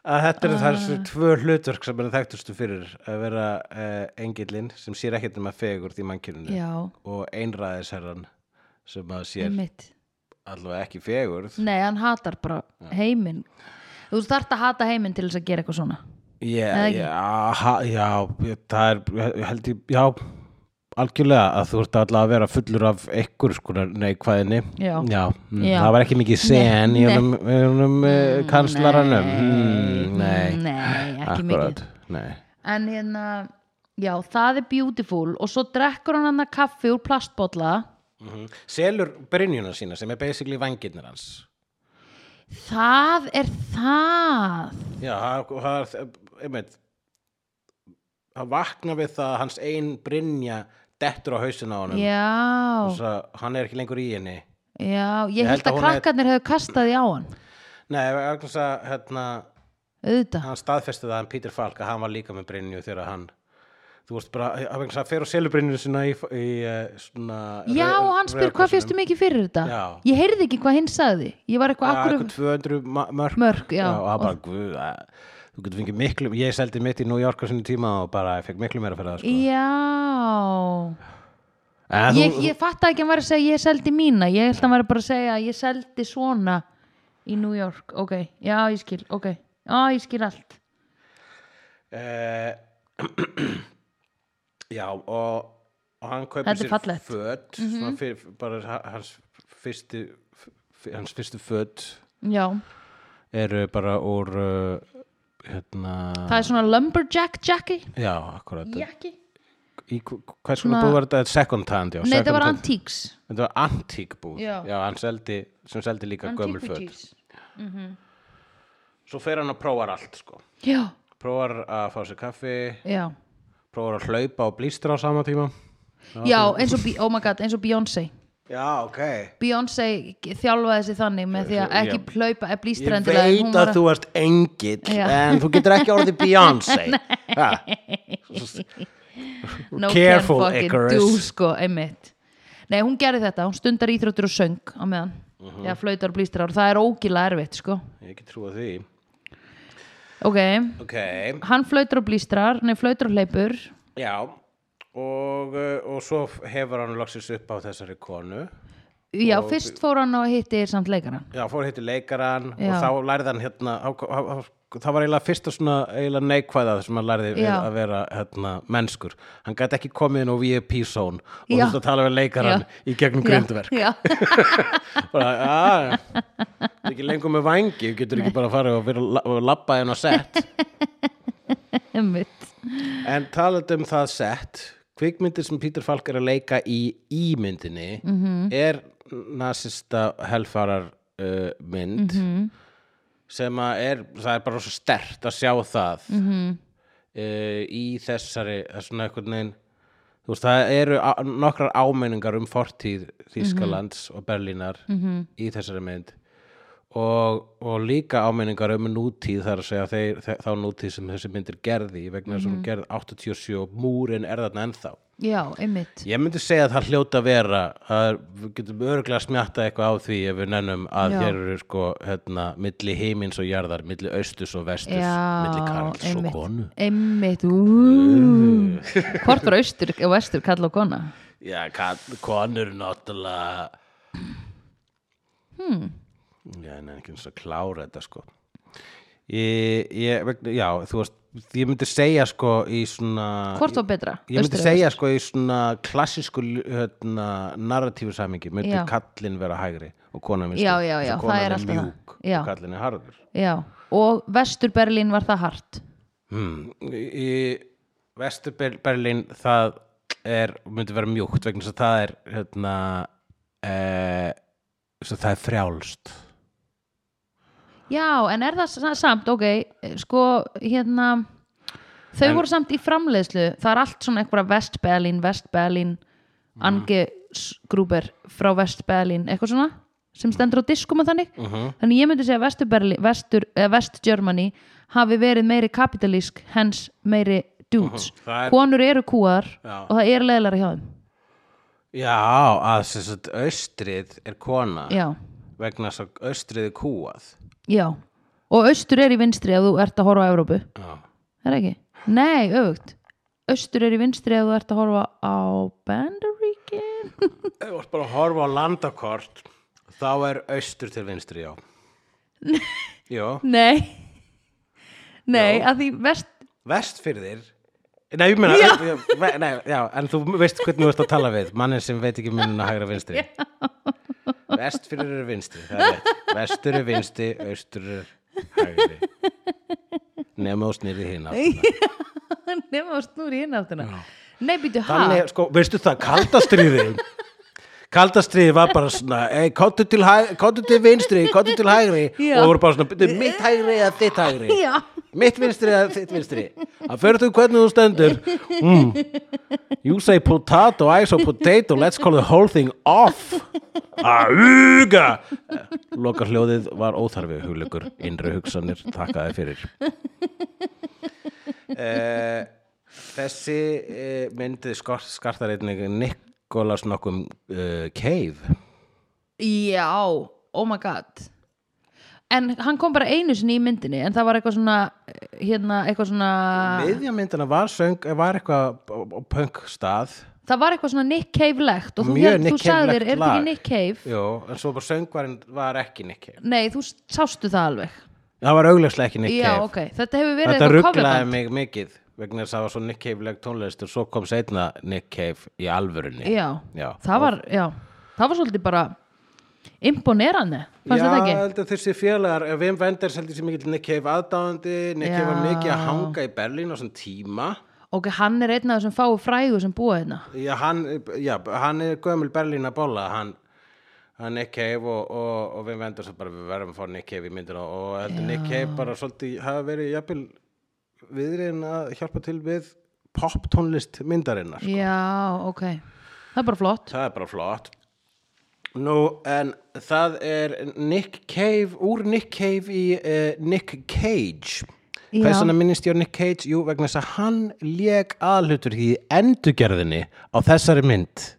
S2: að þetta eru þessu tvö hlutverk sem er þekktustu fyrir að vera uh, engillinn sem sér ekkert nema fegur því mannkjörinu
S1: já,
S2: og einræðisherran sem að sér
S1: einmitt
S2: allavega ekki fegur
S1: Nei, hann hatar bara heiminn Þú þarft að hata heiminn til þess að gera eitthvað svona Eða
S2: yeah,
S1: ekki?
S2: yeah, ha, já, það er ég held ég, já algjörlega að þú ert allavega að vera fullur af einhver skonar neikvæðinni
S1: Já.
S2: Já, mm,
S1: Já.
S2: það var ekki mikið sen í
S1: nei.
S2: honum, í honum uh, kanslaranum
S1: Nei,
S2: mm, Nei,
S1: nei ekki
S2: akkurat Nei,
S1: mikið En hérna, já, það er beautiful og svo drekkur hann hann kaffi úr plastbolla
S2: Mhm. Selur brynjuna sína sem er basically vangirnir hans
S1: Það er það
S2: Já, það- það er einmitt hann vaknar við það að hans ein brynja dettur á hausinn á honum
S1: Já,
S2: Þess að hann er ekki lengur í henni
S1: já, ég,
S2: Ég held
S1: held
S2: að
S1: að
S2: hún er-
S1: krakkarnir hefðu kastað því á hann
S2: Nei, vegna þess að hérna,
S1: Auðvitað,
S2: hann staðfesti það hann Peter Falk að hann var líka með brynju þegar hann þú veist bara að vegna þess að fer á selubrinninu sinna í, í eh, svona
S1: Já, hann spyr hvað fyrstu mikið fyrir þetta
S2: Já.
S1: Ég heyrði ekki hvað hinn sagði Ég var eitthvað
S2: akkur
S1: akkur
S2: eitthvað 200 ma- mörk
S1: Mörk, já.
S2: og það bara, guð, að, þú getur fengið miklu ég seldi mitt í New York á sinni tíma og bara ég fekk miklu meira fyrir það sko.
S1: Já
S2: en,
S1: Ég,
S2: þú,
S1: ég fatta ekki að hann var að segja ég seldi mína Ég held að hann var bara að segja ég seldi svona í New York Ok, já ég skil, ok Já ég skil allt
S2: Eh, *clears throat* já og, og hann kaupir
S1: Þetta er
S2: sér
S1: fallegt. Mhm.
S2: föt svona fyrir, bara ha- hans fyrstu f- hans fyrstu föt
S1: Já,
S2: eru bara úr uh, hérna
S1: það er svona lumberjack jacki
S2: já, akkurat
S1: Jacki
S2: í hv- hvers konar búð var þetta second hand já,
S1: Nei,
S2: second
S1: þetta var
S2: hand-
S1: antiques
S2: þetta var antík búð
S1: Já.
S2: hann seldi, sem seldi líka gömul föt
S1: Antiquities
S2: svo fer hann og prófar allt sko
S1: Já,
S2: prófar að fá sér kaffi
S1: já
S2: prófar að hlaupa og blístra á sama tíma
S1: Já, eins og, Be- oh my god, eins og Beyoncé
S2: já, ok
S1: Beyoncé þjálfaði sig þannig með því að ekki
S2: Ég-
S1: plaupa eða blístra
S2: Ég veit að þú ert engill
S1: Já.
S2: en þú getur ekki
S1: *laughs*
S2: orðið Beyoncé Ha.
S1: no
S2: Careful,
S1: can fucking
S2: Icarus.
S1: do, sko, einmitt Nei, hún gerði þetta, hún stundar íþróttur og söng á meðan, uh -huh. þegar flautar og blístrar og það er ógila erfitt, sko
S2: Ég ekki trúa því
S1: Ok,
S2: Ok,
S1: hann flautar og blístrar nei, flautar og hleypur
S2: já og, uh, og svo hefur hann loksins upp á þessari konu
S1: Já, fyrst fór hann og hitti samt leikarann
S2: Já, fór hittu leikaran
S1: Já.
S2: og þá lærði hann hérna á- á- á- það var eiginlega fyrsta svona eiginlega neikvæða sem hann lærði við
S1: Já.
S2: að vera hérna, mennskur. Hann gæti ekki komið inn á VIP-zón og
S1: Já.
S2: þurfti að tala við leikaran
S1: Já.
S2: í gegnum grindverk
S1: Já, *laughs* já,
S2: bara, "Ah, já, já Þetta er ekki lengur með vangi, þú getur ekki bara að fara og vera la- og labba henn á sett
S1: einmitt
S2: en talandi um það sett kvikmyndir sem Peter Falk er að leika í ímyndinni -hmm. er nasista helfarar uh, mynd sem að er, það er bara svo stert að sjá það -hmm. uh, í þessari það er svona einhvern veginn þú veist, það eru á- nokkrar ámenningar um fortíð Þýskalands og Berlínar -hmm. í þessari mynd og, og líka ámenningar um nútíð þar að segja þeir, þe þá nútíð sem þessi myndir gerði vegna þess að hún
S1: Mhm.
S2: gerði 87 og múrin er þarna ennþá
S1: Já, einmitt
S2: ég myndi segja að það hljóta að vera að við getum örgulega smjatta eitthvað á því ef við nennum að
S1: Já.
S2: hér eru sko hérna, milli heimins og jarðar milli austus og vestus, milli
S1: Já,
S2: karls og konu Uh.
S1: einmitt Einmitt, úúúú Hvort var austur og vestur kalla og kona?
S2: já, karl, konur náttúrulega hmm já, en ekki eins og klára þetta sko ég, ég, vegna- já, þú veist ég myndi segja sko í svona
S1: Hvort var betra?
S2: Ég myndi
S1: Austur eða
S2: segja sko í svona klassísku hérna, narratífu samingi myndi
S1: Já.
S2: kallinn vera hægri og konan minnstur
S1: Já, já, já, það er alltaf það.
S2: mjúk
S1: Já.
S2: og kallinn er harður
S1: Já, og Vestur-Berlín var það hart
S2: hmm. í í Vestur-Berlín það er, myndi vera mjúkt vegna þess að það er hérna, e, það er frjálst
S1: Já, en er það sa- samt, ok sko, hérna þau voru samt í framleiðslu það er allt svona eitthvað Vest-Berlín, Vest-Berlín
S2: Mhm.
S1: Ange Gruber frá Vest-Berlín, eitthvað svona sem stendur á diskum og þannig
S2: Mhm.
S1: þannig ég myndi segja að Vestur-Berlín, Vestur, eh, Vest-Germany hafi verið meiri kapitalísk, hens meiri dudes,
S2: Mhm, það er-
S1: konur eru kúar
S2: Já.
S1: og það er leðlara hjá þeim
S2: Já, að sem sagt, austrið er kona
S1: Já,
S2: vegna þess að austrið er kúað
S1: já og austur er í vinstri ef þú ert að horfa á Evrópu
S2: Já
S1: Það er ekki? Nei, öfugt. Austur er í vinstri ef þú ert að horfa á Bandaríkin. *laughs*
S2: Ef þú ert bara að horfa á landakort þá er austur til vinstri, já Jó,
S1: Nei. Nei, að því vest... *laughs*
S2: vestfyrðir Nei, ég meina, já. Ve, nei, já, en þú veist hvernig þú ert að tala við mannin sem veit ekki mununa hægra vinstri Vestfyrðir eru vinstri það er rétt. Vestur eru vinstri, austur eru hægri Nefna og snýrið hinn
S1: Nefnum að snúri inn áttuna. Nei, býtu, ha?
S2: Þannig, sko, veistu það, kaldastriðið Kaldastriðið var bara svona hey, kottu, til hæ- kottu til vinstri, kottu til hægri
S1: Já.
S2: og það voru bara svona, "Bíddu, mitt hægri eða þitt hægri
S1: Já.
S2: mitt vinstri eða þitt vinstri það fyrir þú hvernig þú stendur mm. you say potato, I say potato let's call the whole thing off auga lokar hljóðið var óþarfi hugleikur, innri hugsanir, takkaði fyrir eh, Þessi uh, myndið skartar einnig Nikolas nokkum uh, Cave.
S1: Já, oh my god En hann kom bara einu sinni í myndinni En það var eitthvað svona eh, Hérna, eitthvað svona
S2: Miðja myndina var, söng, var eitthvað á- á punk stað.
S1: Það var eitthvað svona Nick Cave-legt Og þú,
S2: Mjög
S1: held-
S2: Nick
S1: þú sagðir,
S2: Cave-legt
S1: er þetta
S2: lag."
S1: ekki Nick Cave?
S2: Jó, en svo bara söngvarinn var ekki Nick Cave.
S1: Nei, þú s- sástu það alveg
S2: Það var augljóslega ekki Nick
S1: Já,
S2: Cave.
S1: ok, þetta hefur verið
S2: Þetta
S1: eitthvað
S2: rugglaði
S1: coverband
S2: mig mikið vegna þess að það var svo Nick Cave-leg tónlist og svo kom seinna Nick Cave í alvörunni.
S1: já.
S2: Já.
S1: það var, já Það var svolítið bara imponerandi Fannst
S2: Já,
S1: þetta
S2: ég
S1: ekki?
S2: held að þessi félagar, eh, Wim Wenders heldur sem mikill Nick Cave aðdáðandi, Nick Cave var
S1: Já.
S2: mikið að hanga í Berlín á svona tíma.
S1: Ok, hann er einn af þessum fáu frægu sem búa hérna
S2: Já, hann, já, hann er gömul Berlín að bolla, hann, hann Nick Cave og, og, og Wim Wenders er bara við verðum að fá Nick Cave í myndina og heldur Nick Cave bara svolítið hafa verið jafnvel viðriðin að hjálpa til við poptónlist myndarinnar.
S1: Já, ok Það er bara flott
S2: Það er bara flott. Nú, en það er Nick Cave, úr Nick Cave í uh, Nick Cage.
S1: Já.
S2: Hvers vegna minnist ég á Nick Cage? Jú, vegna þess að hann lék aðhlutur í endurgerðinni á þessari mynd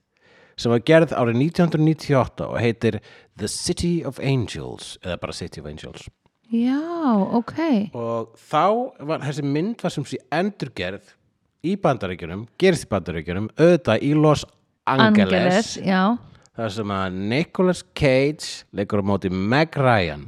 S2: sem var gerð árið 1998 og heitir The City of Angels, eða bara City of Angels.
S1: Já, ok
S2: Og þá var þessi mynd var sem sé endurgerð í bandaríkjunum, gerist í bandaríkjunum, auðvitað í Los Angeles
S1: já
S2: þar sem að Nicolas Cage leikur á móti Meg Ryan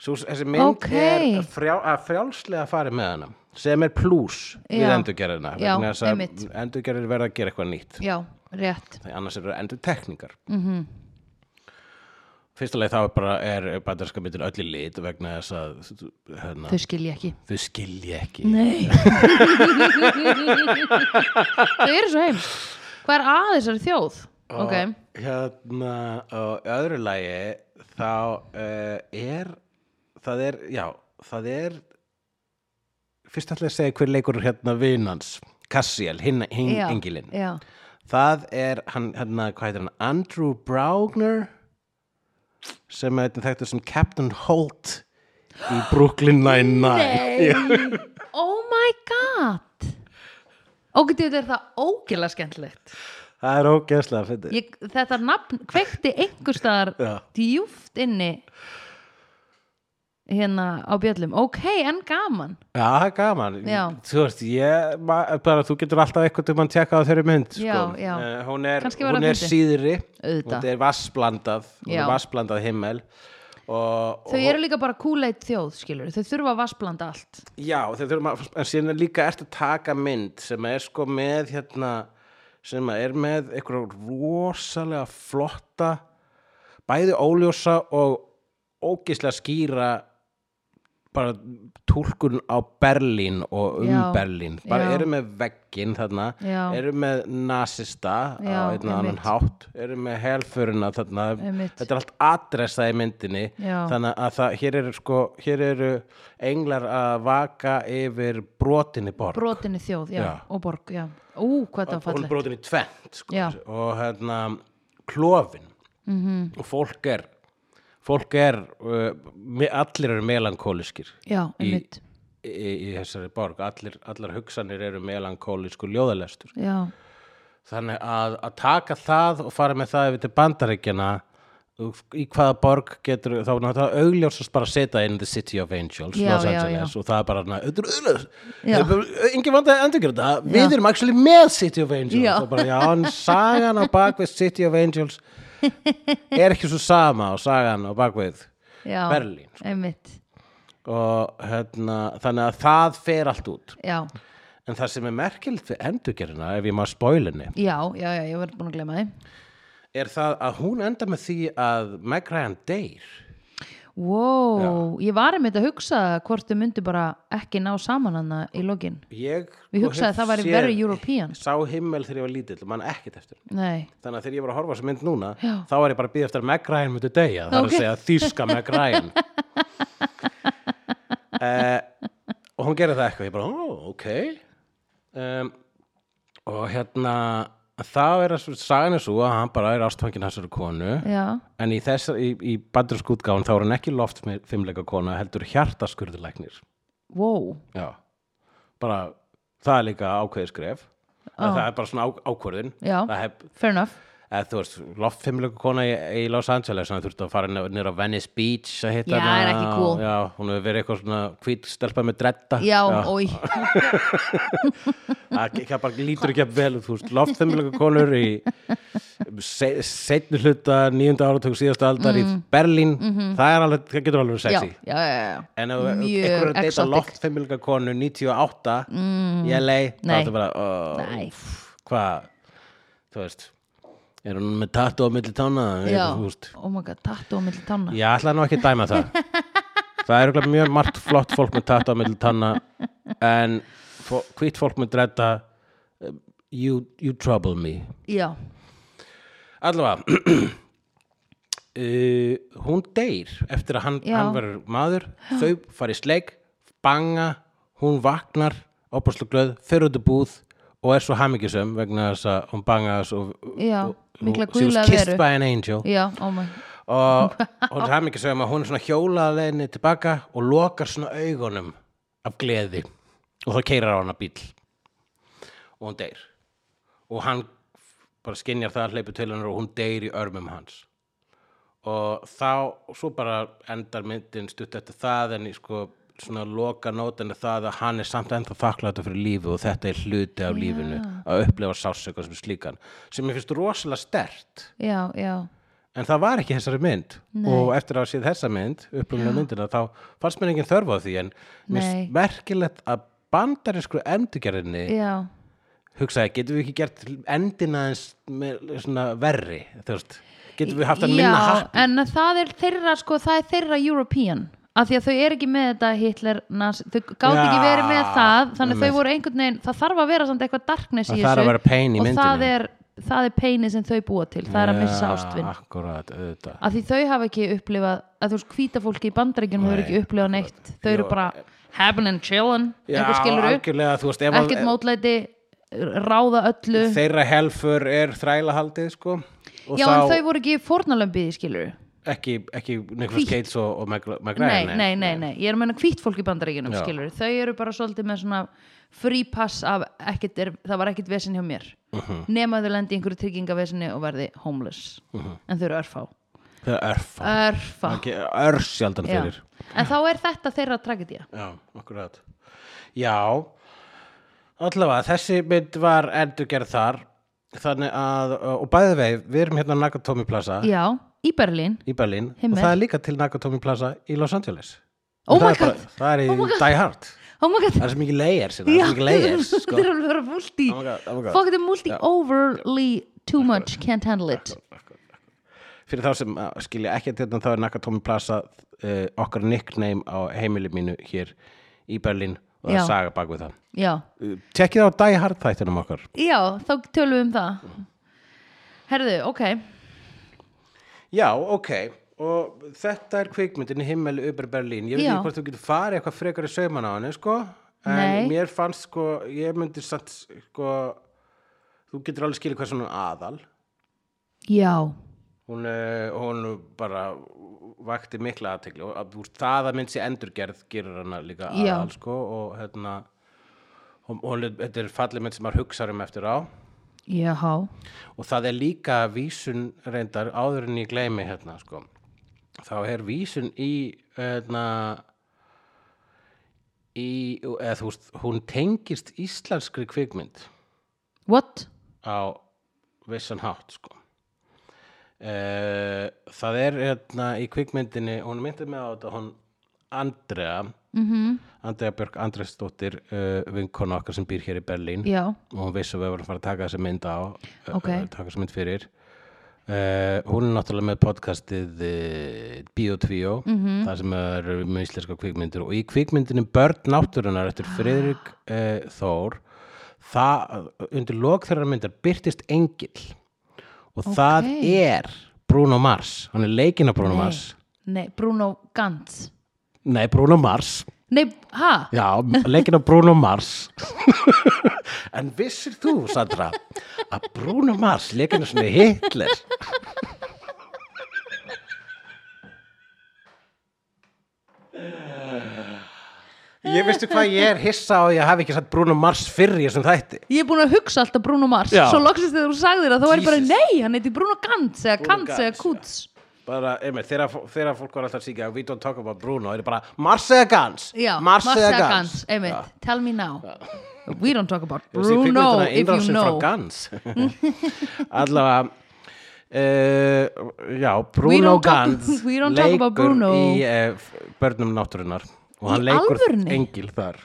S2: Svo, þessi mynd
S1: Ok.
S2: er frjá, að frjálslega farið með hana sem er plús við
S1: Já.
S2: endurgerðina
S1: Já,
S2: vegna þess að
S1: einmitt.
S2: endurgerðir verða að gera eitthvað nýtt
S1: Já, rétt
S2: þegar annars eru endur tekningar mm
S1: Mhm.
S2: -hmm. fyrsta leið þá er bara er bandarska myndin öll í lit vegna þess að hérna,
S1: Þau skilji ekki
S2: þau skilja ekki
S1: Nei *laughs* Þau eru svo heims Hvað er að þessari þjóð?
S2: Ah.
S1: Ok,
S2: og hérna og í öðru lagi þá uh, er það er, já, það er fyrst ætla ég að segja hver leikur hérna vinans Cassiel, hinn hin,
S1: já
S2: engilinn
S1: Já,
S2: það er hann, hérna, hvað heitir hann Andrew Braugner sem er þetta þekktur sem Captain Holt í Brooklyn Nine-Nine
S1: Nei *laughs* Oh my god Ok, þetta er það ógæla skemmtilegt
S2: það er ógeðslega fyrir
S1: Ég, Þetta nafn kveikti einhverstaðar
S2: Já.
S1: djúft inni hérna á bjöllum ok, en gaman
S2: Já, það er gaman.
S1: Já.
S2: Þú veist, ég, ma- bara, þú getur alltaf eitthvað um að tjekka á þeirri mynd,
S1: Já,
S2: sko.
S1: já.
S2: Eh, hún er,
S1: Kannski var
S2: hún
S1: það
S2: er
S1: fyndið.
S2: síðri,
S1: Auðvitað.
S2: þetta er vassblandað, hún
S1: Já.
S2: er vassblandað himmel. Og,
S1: þau eru líka bara kúleit þjóð skilur þau þurfa að vassblanda allt
S2: og, já, þeir þurfum að, en síðan er líka ert að taka mynd sem er sko með, hérna, sem að er með eitthvað rosalega flotta, bæði óljósa og ógislega skýra bara tólkun á Berlín og um
S1: Já,
S2: Berlín bara
S1: já.
S2: eru með veggin þarna
S1: Já.
S2: eru með nasista
S1: Já,
S2: á einn og annan
S1: einmitt.
S2: hátt eru með helfurina þarna
S1: Einmitt.
S2: þetta er allt adressað í myndinni
S1: Já.
S2: þannig að það, hér eru sko hér eru englar að vaka yfir brotinni borg
S1: brotinni þjóð, já,
S2: Já.
S1: og borg, já ú, hvað það var
S2: hún
S1: fallið
S2: brotinni tvent sko,
S1: Já.
S2: og hérna klofin
S1: Mhm.
S2: -hmm. og fólk er fólk er uh, me- allir eru melankóliskir
S1: já, einmitt,
S2: í, í þessari borg allir, allar hugsanir eru melankólisku ljóðalestur
S1: já
S2: þannig að, að taka það og fara með það yfir til bandaríkjana í hvaða borg getur þá náttúrulega augljósast bara að setja inn The City of Angels
S1: Já,
S2: Los
S1: já,
S2: Angeles og það er bara na, þetta er
S1: Já.
S2: auðvitað engin vanda að endur gera þetta við
S1: Já.
S2: erum actually með City of Angels
S1: Já.
S2: og bara já, en sagan á bakvið City of Angels
S1: *laughs*
S2: er ekki svo sama og sagan á bakvið
S1: já,
S2: Berlín, sko.
S1: einmitt,
S2: og hérna, þannig að það fer allt út
S1: já
S2: En það sem er merkild við endurgerðina, ef ég maður spóilinni,
S1: já, já, já, ég verður búin að glema þið
S2: er það að hún enda með því að Meg Ryan deyr.
S1: wow, ég var einmitt að hugsa hvort þau myndu bara ekki ná saman hana í lokin,
S2: Ég
S1: Ég hugsaði að það væri
S2: sé-
S1: very European.
S2: Sá himmel þegar ég var lítill, mann ekkit eftir. henni.
S1: nei
S2: Þannig að þegar ég var að horfa á þessa mynd núna,
S1: Já.
S2: þá var ég bara að býða eftir að Meg Ryan myndi deyja.
S1: Ok.
S2: Það er að segja þýska Meg
S1: *laughs*
S2: Ryan. uh, og hún gerði það eitthvað. Ég bara, ó, ok. Um, og hérna, það er að sagan er svo að hann bara er ástfangin þessari konu.
S1: já,
S2: En í, þess, í, í bandurinsk útgáfun þá er hann ekki loftfimleika kona, heldur hjartaskurðulæknir.
S1: wow
S2: Já. Bara það er líka ákveðið skref
S1: Ó.
S2: það er bara svona á, ákvörðun
S1: Já.
S2: það hef,
S1: fair enough
S2: eða þú veist, loftfimleiku kona í, í Los Angeles, þannig þurfti að fara nýra Venice Beach að hitta
S1: Já,
S2: hana
S1: er ekki cool.
S2: Já, hún hefur verið eitthvað svona hvít stelpa með dretta
S1: já, oi,
S2: Það það bara lítur ekki að vel, út, þú veist, loftfimleiku konur í se, setni hluta nýjunda áratug síðasta aldar í Berlín, það er alveg, það getur alveg verið
S1: Mhm. já,
S2: sexy
S1: já, já, já.
S2: En ef
S1: Mjög
S2: einhver er að deyta
S1: exotic.
S2: loftfimleika konu 98 mm. í LA, þá
S1: Nei.
S2: er það bara oh,
S1: Nei.
S2: pff, hvað, þú veist er hún með tattu á milli tána
S1: já.
S2: þú veist,
S1: oh my god, tattu á milli tanna
S2: ég ætla nú ekki að dæma það það er örugglega mjög margt flott fólk með tattu á milli tána en fó- hvítt fólk með dredda eh, you, you trouble me
S1: já,
S2: allavega *clears throat* uh, hún deyr eftir að hann,
S1: Já.
S2: hann verður maður þau fari í sleik, banga hún vaknar, opaslu glöð fer út í búð og er svo hamingisum vegna þess að hún banga svo,
S1: Já, mikla
S2: she was
S1: guðlega
S2: kissed
S1: veru.
S2: by an angel
S1: já, oh my
S2: og hún er hamingisum að hún er svona hjólaða leiðinni tilbaka og lokar svona augunum af gleði og þá keirar á hana bíl og hún deyr og hann bara skinjar það hleypur til hennar og hún deyr í örmum hans og þá, svo bara endar myndin stutt eftir það en í sko svona loka nótan er það að hann er samt ennþá þakklæta fyrir lífi og þetta er hluti af lífinu að upplifa sársöka sem slíkan sem mér finnst rosalega stert
S1: já, já,
S2: en það var ekki þessari mynd
S1: Nei.
S2: og eftir að hafa séð þessa mynd, upplumlega myndina þá fannst mér engin þörf á því en mér finnst
S1: Nei.
S2: merkilegt að bandarísku endurgerðinni
S1: já
S2: hugsaði, getum við ekki gert endina eins með svona verri þú veist, getum við haft að minna
S1: já,
S2: happy
S1: en það er þeirra sko, það er þeirra European af því að þau eru ekki með þetta Hitler nas, þau gátt ekki
S2: Já,
S1: verið með það þannig að
S2: einmitt.
S1: þau voru einhvern veginn, það þarf að vera samt eitthvað darkness í
S2: Það
S1: þessu
S2: þarf að vera pain í
S1: og það
S2: myndinni.
S1: er, það er paini sem þau búa til það er að missa ástvinn
S2: akkurat, auðvitað
S1: af því þau hafa ekki upplifað að þú veist hvíta fólki í bandaríkjunum hefur
S2: Nei,
S1: ekki upplifað neitt þau eru
S2: Jú.
S1: bara happen and chillin
S2: Já,
S1: einhver skilur upp,
S2: algjörlega, þú veist, ef að
S1: ekkert mótlæti ráða öllu
S2: þeirra helfur er þrælahaldið, sko og
S1: já en
S2: þá
S1: þau voru ekki fórnalömbiði skilur
S2: ekki, ekki Nicholas
S1: Hvítt.
S2: Gates og, og McGregor
S1: nei, nei, nei, nei, ég er að menna hvít fólk í bandaríkjunum
S2: Já.
S1: skilur, þau eru bara svolítið með svona free pass af ekkit er, það var ekkit vesinn hjá mér
S2: Mhm.
S1: nema þau lendi í einhverju tryggingavesinni og verði homeless,
S2: Mhm.
S1: en þau eru örfá
S2: það er örfa,
S1: örfá
S2: örsjaldan
S1: Já.
S2: fyrir
S1: en þá er þetta þeirra tragedía
S2: Já, akkurat. Já, allavega, þessi mynd var endurgerð þar, þannig að, og bæði vei, við erum hérna á Nakatomi Plaza
S1: já, í Berlín
S2: í Berlín
S1: Himmel.
S2: og það er líka til Nakatomi Plaza í Los Angeles.
S1: Oh
S2: Og það
S1: my
S2: er bara-
S1: God.
S2: Það er í
S1: Oh my God.
S2: Die Hard.
S1: oh my god
S2: Það er sem ekki layers, hérna, það er sem ekki
S1: *laughs*
S2: layers,
S1: þetta
S2: sko.
S1: er alveg að vera multi
S2: Oh my god, oh my god.
S1: fuck þetta er multi overly too much, can't handle it
S2: Fyrir þá sem uh, skilja ekki að þetta, þá er Nakatomi Plaza uh, okkar nickname á heimili mínu hér í Berlín og það
S1: Já.
S2: er saga bak við það.
S1: já,
S2: Uh, Tekkið á Die Hard þættinum okkar.
S1: já, þá tölum við um það herðu, ok
S2: Já, ok og þetta er kvikmyndin Himmel Uber Berlin ég veit
S1: Já.
S2: ekki hvort þú getur farið eitthvað frekar í sauman á henni sko en
S1: Nei.
S2: mér fannst sko ég myndi satt sko þú getur alveg skilið hvað svona aðal
S1: já,
S2: hún, eh, hún bara vakti mikla aðtekli og að, þú veist, það að mynd sé endurgerð gerir hana líka
S1: Já.
S2: aðal sko og hérna og, og þetta er fallið mynd sem maður hugsar um eftir á
S1: Jáhá,
S2: og það er líka vísun reyndar áður en ég gleymi hérna sko þá er vísun í hérna í, eða þú veist hún tengist íslenskri kvikmynd
S1: what?
S2: á vissan hátt sko Uh, það er hérna í kvikmyndinni hún myndi með á þetta hún Andrea
S1: Mhm.
S2: Andrea Björk Andresdóttir uh, vinkonu okkar sem býr hér í Berlín
S1: Já,
S2: og hún vissi að við vorum að fara að taka þessa mynd á eh,
S1: Ok.
S2: eh, taka þessa mynd fyrir uh, hún er náttúrulega með podcastið uh, Biotvíó mm
S1: Mhm.
S2: -hmm. það sem er með íslenska kvikmyndir og í kvikmyndinu Börn náttúrunar
S1: Ah.
S2: eftir Friðrik uh, Þór það, undir lok þeirra myndar byrtist engill og það
S1: Ókei.
S2: er Bruno Mars, hann er leikinn af Bruno
S1: Nei.
S2: Mars
S1: nei, Bruno Gantz
S2: nei, Bruno Mars
S1: Nei, ha?
S2: Já, leikinn á Bruno Mars *laughs* En vissir þú, Sandra að Bruno Mars leikinn er svona Hitler Ég veistu hvað ég er hissa á því að hafa ekki satt Bruno Mars fyrir ég sem þætti
S1: Ég er búin að hugsa alltaf Bruno Mars
S2: Já.
S1: Svo loksist þegar þú sagðir það þá var ég bara
S2: Jesus.
S1: Nei, hann heiti Bruno Gantz eða
S2: Bruno
S1: Kantz eða
S2: Gantz,
S1: Kutz
S2: Bara, einmitt, þegar, þegar fólk var alltaf síkja We don't talk about Bruno, er bara Mars eða Gans
S1: Já,
S2: Mars eða Gans
S1: Gantz Einmitt, tell me now We don't talk about
S2: Þú veist, ég
S1: Bruno
S2: kvikmyndina
S1: if you
S2: Innrásin
S1: know
S2: frá Gans *laughs* Allavega Uh, já,
S1: We
S2: Bruno
S1: don't talk-
S2: Gans
S1: *laughs* we don't talk about Bruno.
S2: í uh, börnum náttúrunar og hann
S1: Í
S2: leikur
S1: alvörunni?
S2: engil þar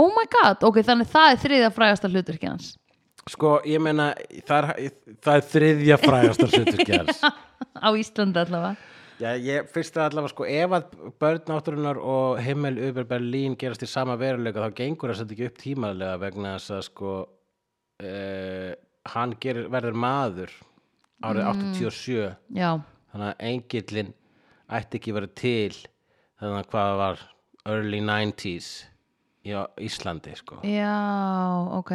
S1: Oh my god, ok, þannig það er þriðja frægasta hlutverki hans *laughs*
S2: sko, ég meina það er, það er þriðja frægastar hlutverki hans
S1: Á Íslandi allavega
S2: Já, ég fyrst að allavega sko ef að börn átturinnar og himmel yfir Berlín gerast í sama veruleika þá gengur það svolítið ekki upp tímalega vegna þess að sko uh, hann gerir, verður maður
S1: Mm.
S2: árið 87
S1: Já,
S2: þannig að engillin ætti ekki verið til þannig að hvað var early 90s í á Íslandi sko
S1: já, ok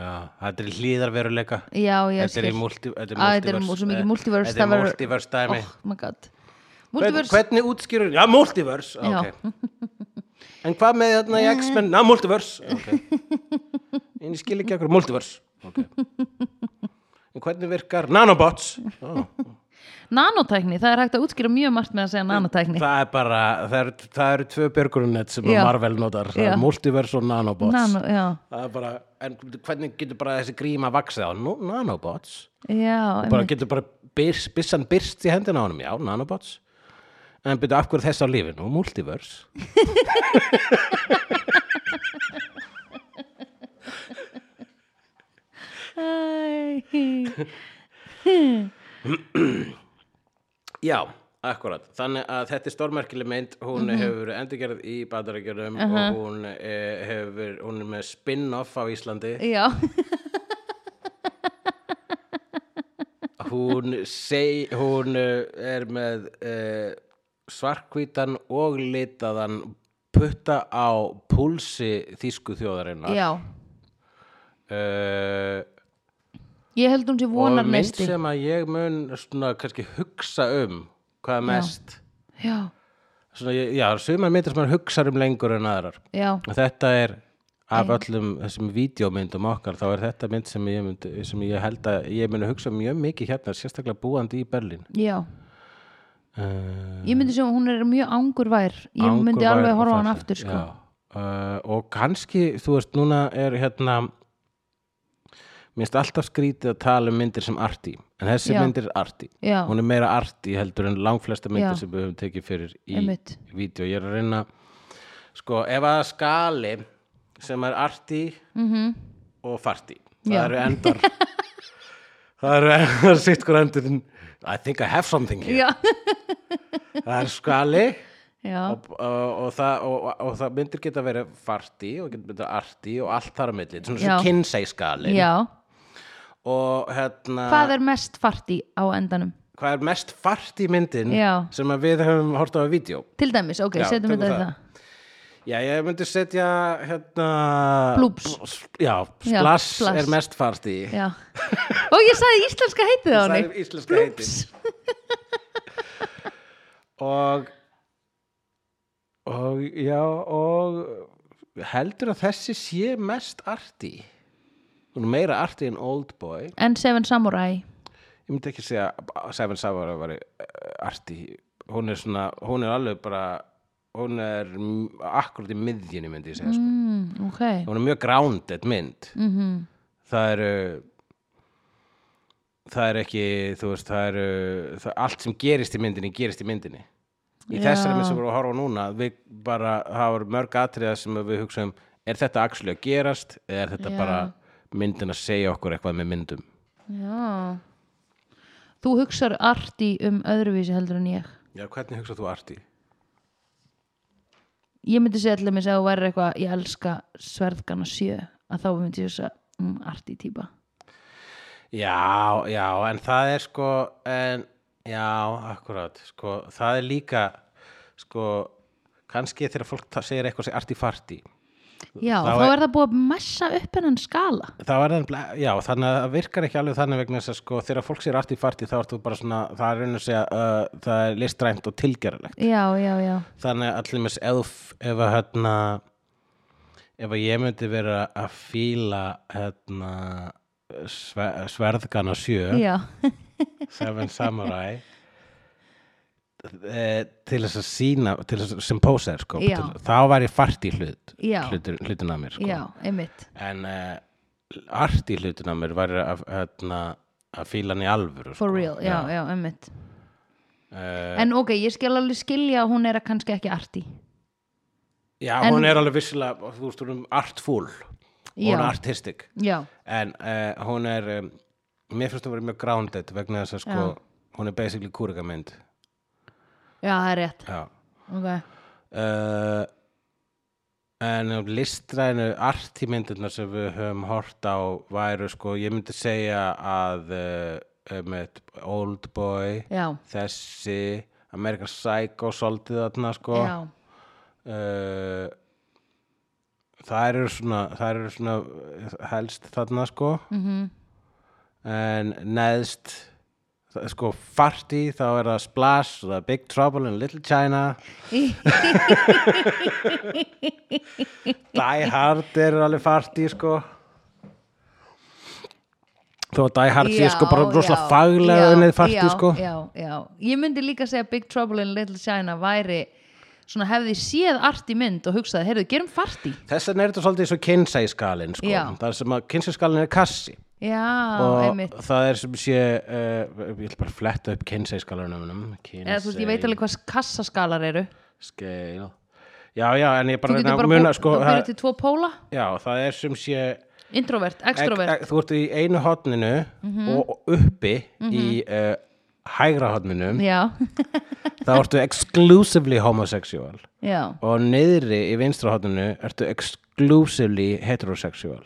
S2: Já, þetta er hlýðarveruleika
S1: Já, ég
S2: Þetta er í
S1: skil.
S2: multi, þetta
S1: Á, þetta er mú- svo mikið multiverse,
S2: Þetta
S1: það
S2: er
S1: verður-
S2: multiverse dæmi
S1: Oh my god
S2: Hvern,
S1: Multiverse
S2: hvernig útskýrur, já, multiverse
S1: Já. Eh.
S2: okay. en hvað með hérna, þarna í X-Men já, multiverse okay. en ég skil ekki okkur, multiverse okay. en hvernig virkar nanobots oh.
S1: Nanotækni, það er hægt að útskýra mjög margt með að segja nanotækni
S2: það er bara, það eru, það eru tvö björgurunett sem
S1: Já.
S2: já. Marvel notar það er
S1: Já.
S2: multiverse og nanobots
S1: Nano, já,
S2: það er bara, en hvernig getur bara þessi gríma vaksið á, Nú, nanobots
S1: já
S2: bara
S1: einmitt.
S2: getur bara byrs, byssan byrst í hendina á honum, já, nanobots en byrja af hverju þess á lífinu, multiverse
S1: Æ.
S2: Já, akkurat. Þannig að þetta er stórmerkileg mynd, hún hefur verið endurgerð í bandarækjunum og hún, eh, hefur, hún er með spin-off á Íslandi.
S1: Já,
S2: Hún, seg, hún eh, er með eh, svarkvítan og litaðan putta á púlsi þýsku þjóðarinnar.
S1: já
S2: Eh,
S1: Ég held hún sé
S2: og
S1: vonar
S2: mynd
S1: mesti
S2: sem að ég mun svona kannski hugsa um hvað mest.
S1: Já,
S2: Svona, ég- já, sumar myndir sem maður hugsar um lengur en aðrar.
S1: já,
S2: Og þetta er af öllum þessum vídeómyndum okkar þá er þetta mynd sem ég, mynd, sem ég held að ég muni hugsa mjög mikið hérna sérstaklega búandi í Berlín
S1: já
S2: uh,
S1: Ég myndi segja að hún er mjög angurvær Ég myndi alveg horfa á hann aftur sko.
S2: uh, og kannski, þú veist, núna er hérna minnst alltaf skrítið að tala um myndir sem arti en þessi
S1: Já.
S2: myndir er arti
S1: Já,
S2: hún er meira arti heldur en langflesta myndir
S1: Já.
S2: sem við höfum tekið fyrir í
S1: Einmitt.
S2: vídeo ég er að reyna sko, ef að skali sem er arti
S1: mhm,
S2: og farti það
S1: Já.
S2: eru endar *laughs* það eru endar *laughs* sitt hver endurinn I think I have something here
S1: já,
S2: það er skali
S1: já
S2: og, og, og, það, og, og, og það myndir geta verið farti og getur myndir arti og allt þar á milli svona
S1: Já.
S2: svo Kinsey skali
S1: Já,
S2: og hérna
S1: hvað er mest farti á endanum?
S2: hvað er mest farti myndin
S1: Já.
S2: sem að við höfum hort á að vídeo
S1: Til dæmis, ok,
S2: Já,
S1: setjum
S2: tökum
S1: þetta í
S2: það.
S1: það
S2: já ég myndi setja hérna
S1: Bloops.
S2: bl- já,
S1: Já,
S2: splash,
S1: splash.
S2: er mest farti
S1: Já Og ég sagði íslenska heitið á
S2: það
S1: henni
S2: er íslenska heitin og og já og heldur að þessi sé mest arti hún er meira arti en old boy
S1: En Seven Samurai
S2: ég myndi ekki segja að Seven Savara var eh, arti hún er svona, hún er alveg bara hún er m- akkurat í miðjunni myndi ég segja sko.
S1: mm, Ok,
S2: hún er mjög grounded mynd
S1: mm
S2: það eru það er ekki þú veist, það eru það, allt sem gerist í myndinni, gerist í myndinni í
S1: Já.
S2: þessari mynd sem við erum að horfa á núna við bara, það voru mörg atriða sem við hugsaum, er þetta axli að gerast eða er þetta
S1: Já.
S2: bara myndin að segja okkur eitthvað með myndum
S1: já Þú hugsar arti um öðruvísi heldur en ég
S2: Já, hvernig hugsað þú arti?
S1: Ég myndi segja allir mér að þú væri eitthvað Ég elska sverðgana sjö að þá myndi ég þess að mm, arti típa
S2: Já, já, en það er sko en, já, akkurat sko, það er líka sko, kannski þegar fólk ta- segir eitthvað sem arti farti
S1: já,
S2: Þá
S1: þá
S2: er-
S1: er það búið að messa upp hennan skala
S2: Það var nefnilega, já, þannig að það virkar ekki alveg þannig vegna þess að sko þegar fólk sér arti í farti þá ert þú bara svona, það er raun að segja uh, það er listræmt og tilgerulegt
S1: já, já, já,
S2: þannig að allir mis ef, ef að hérna ef að ég myndi vera að fíla hérna sve, sverðgana sjö
S1: já,
S2: Seven Samurai eh, til þess að sína til þess að sem pósa sko
S1: Já.
S2: til, þá var ég farti hlut
S1: Já.
S2: hlutur, hlutin að mér sko
S1: já, einmitt
S2: en uh, art í hlutin að mér var að, hérna, að fíla hann í alvöru
S1: for
S2: sko.
S1: real, já, já, einmitt
S2: Eh,
S1: en ok, ég skal alveg skilja að hún er að kannski ekki arti
S2: já
S1: en-
S2: hún er alveg vissilega þú veist, hún er artful hún
S1: Já.
S2: er artistic
S1: já,
S2: en uh, hún er um, mér finnst hún verið mjög grounded vegna þess að sko,
S1: Já.
S2: hún er basically kúrikamynd
S1: já, það er rétt
S2: já
S1: ok,
S2: uh, en um listrænu artímyndirnar sem við höfum hort á væru sko, ég myndi segja að uh, um eitt Old Boy
S1: já,
S2: þessi American Psycho soldið þarna sko
S1: já
S2: uh, það eru svona það eru svona uh, helst þarna sko
S1: mhm
S2: en neðst það er sko farti þá er það Splash og það er Big Trouble in Little China Die Hard er alveg farti sko þó að Die Hard sé
S1: Já,
S2: sko bara
S1: já,
S2: rosalega faglega
S1: já,
S2: unnið farti
S1: já,
S2: sko
S1: já, já. ég myndi líka segja Big Trouble in Little China væri svona hefði séð art í mynd og hugsaði, heyrðu, gerum farti
S2: Þess vegna er þetta svolítið svo kynsæskalinn sko.
S1: Já.
S2: Það er sem að kynsæskalinn er kassi
S1: já,
S2: og
S1: einmitt
S2: það er sem sé uh, ég ætla bara að fletta upp kynsæskalunum
S1: eða þú veist, ég veit alveg hvað kassaskalar eru
S2: Scale Já, já, en ég
S1: þú
S2: bara reyna
S1: getur
S2: að
S1: bara
S2: muna
S1: bú-
S2: sko,
S1: þá
S2: það,
S1: byrjuð til tvo póla
S2: Já, það er sem sé ek,
S1: introvert, extrovert,
S2: Þú ert í einu hotninu
S1: Mhm.
S2: og og uppi í uh, hægra hotninum
S1: já,
S2: þá ertu exclusively homosexual
S1: já
S2: og niðri í vinstra hotninu ertu exclusively heterosexual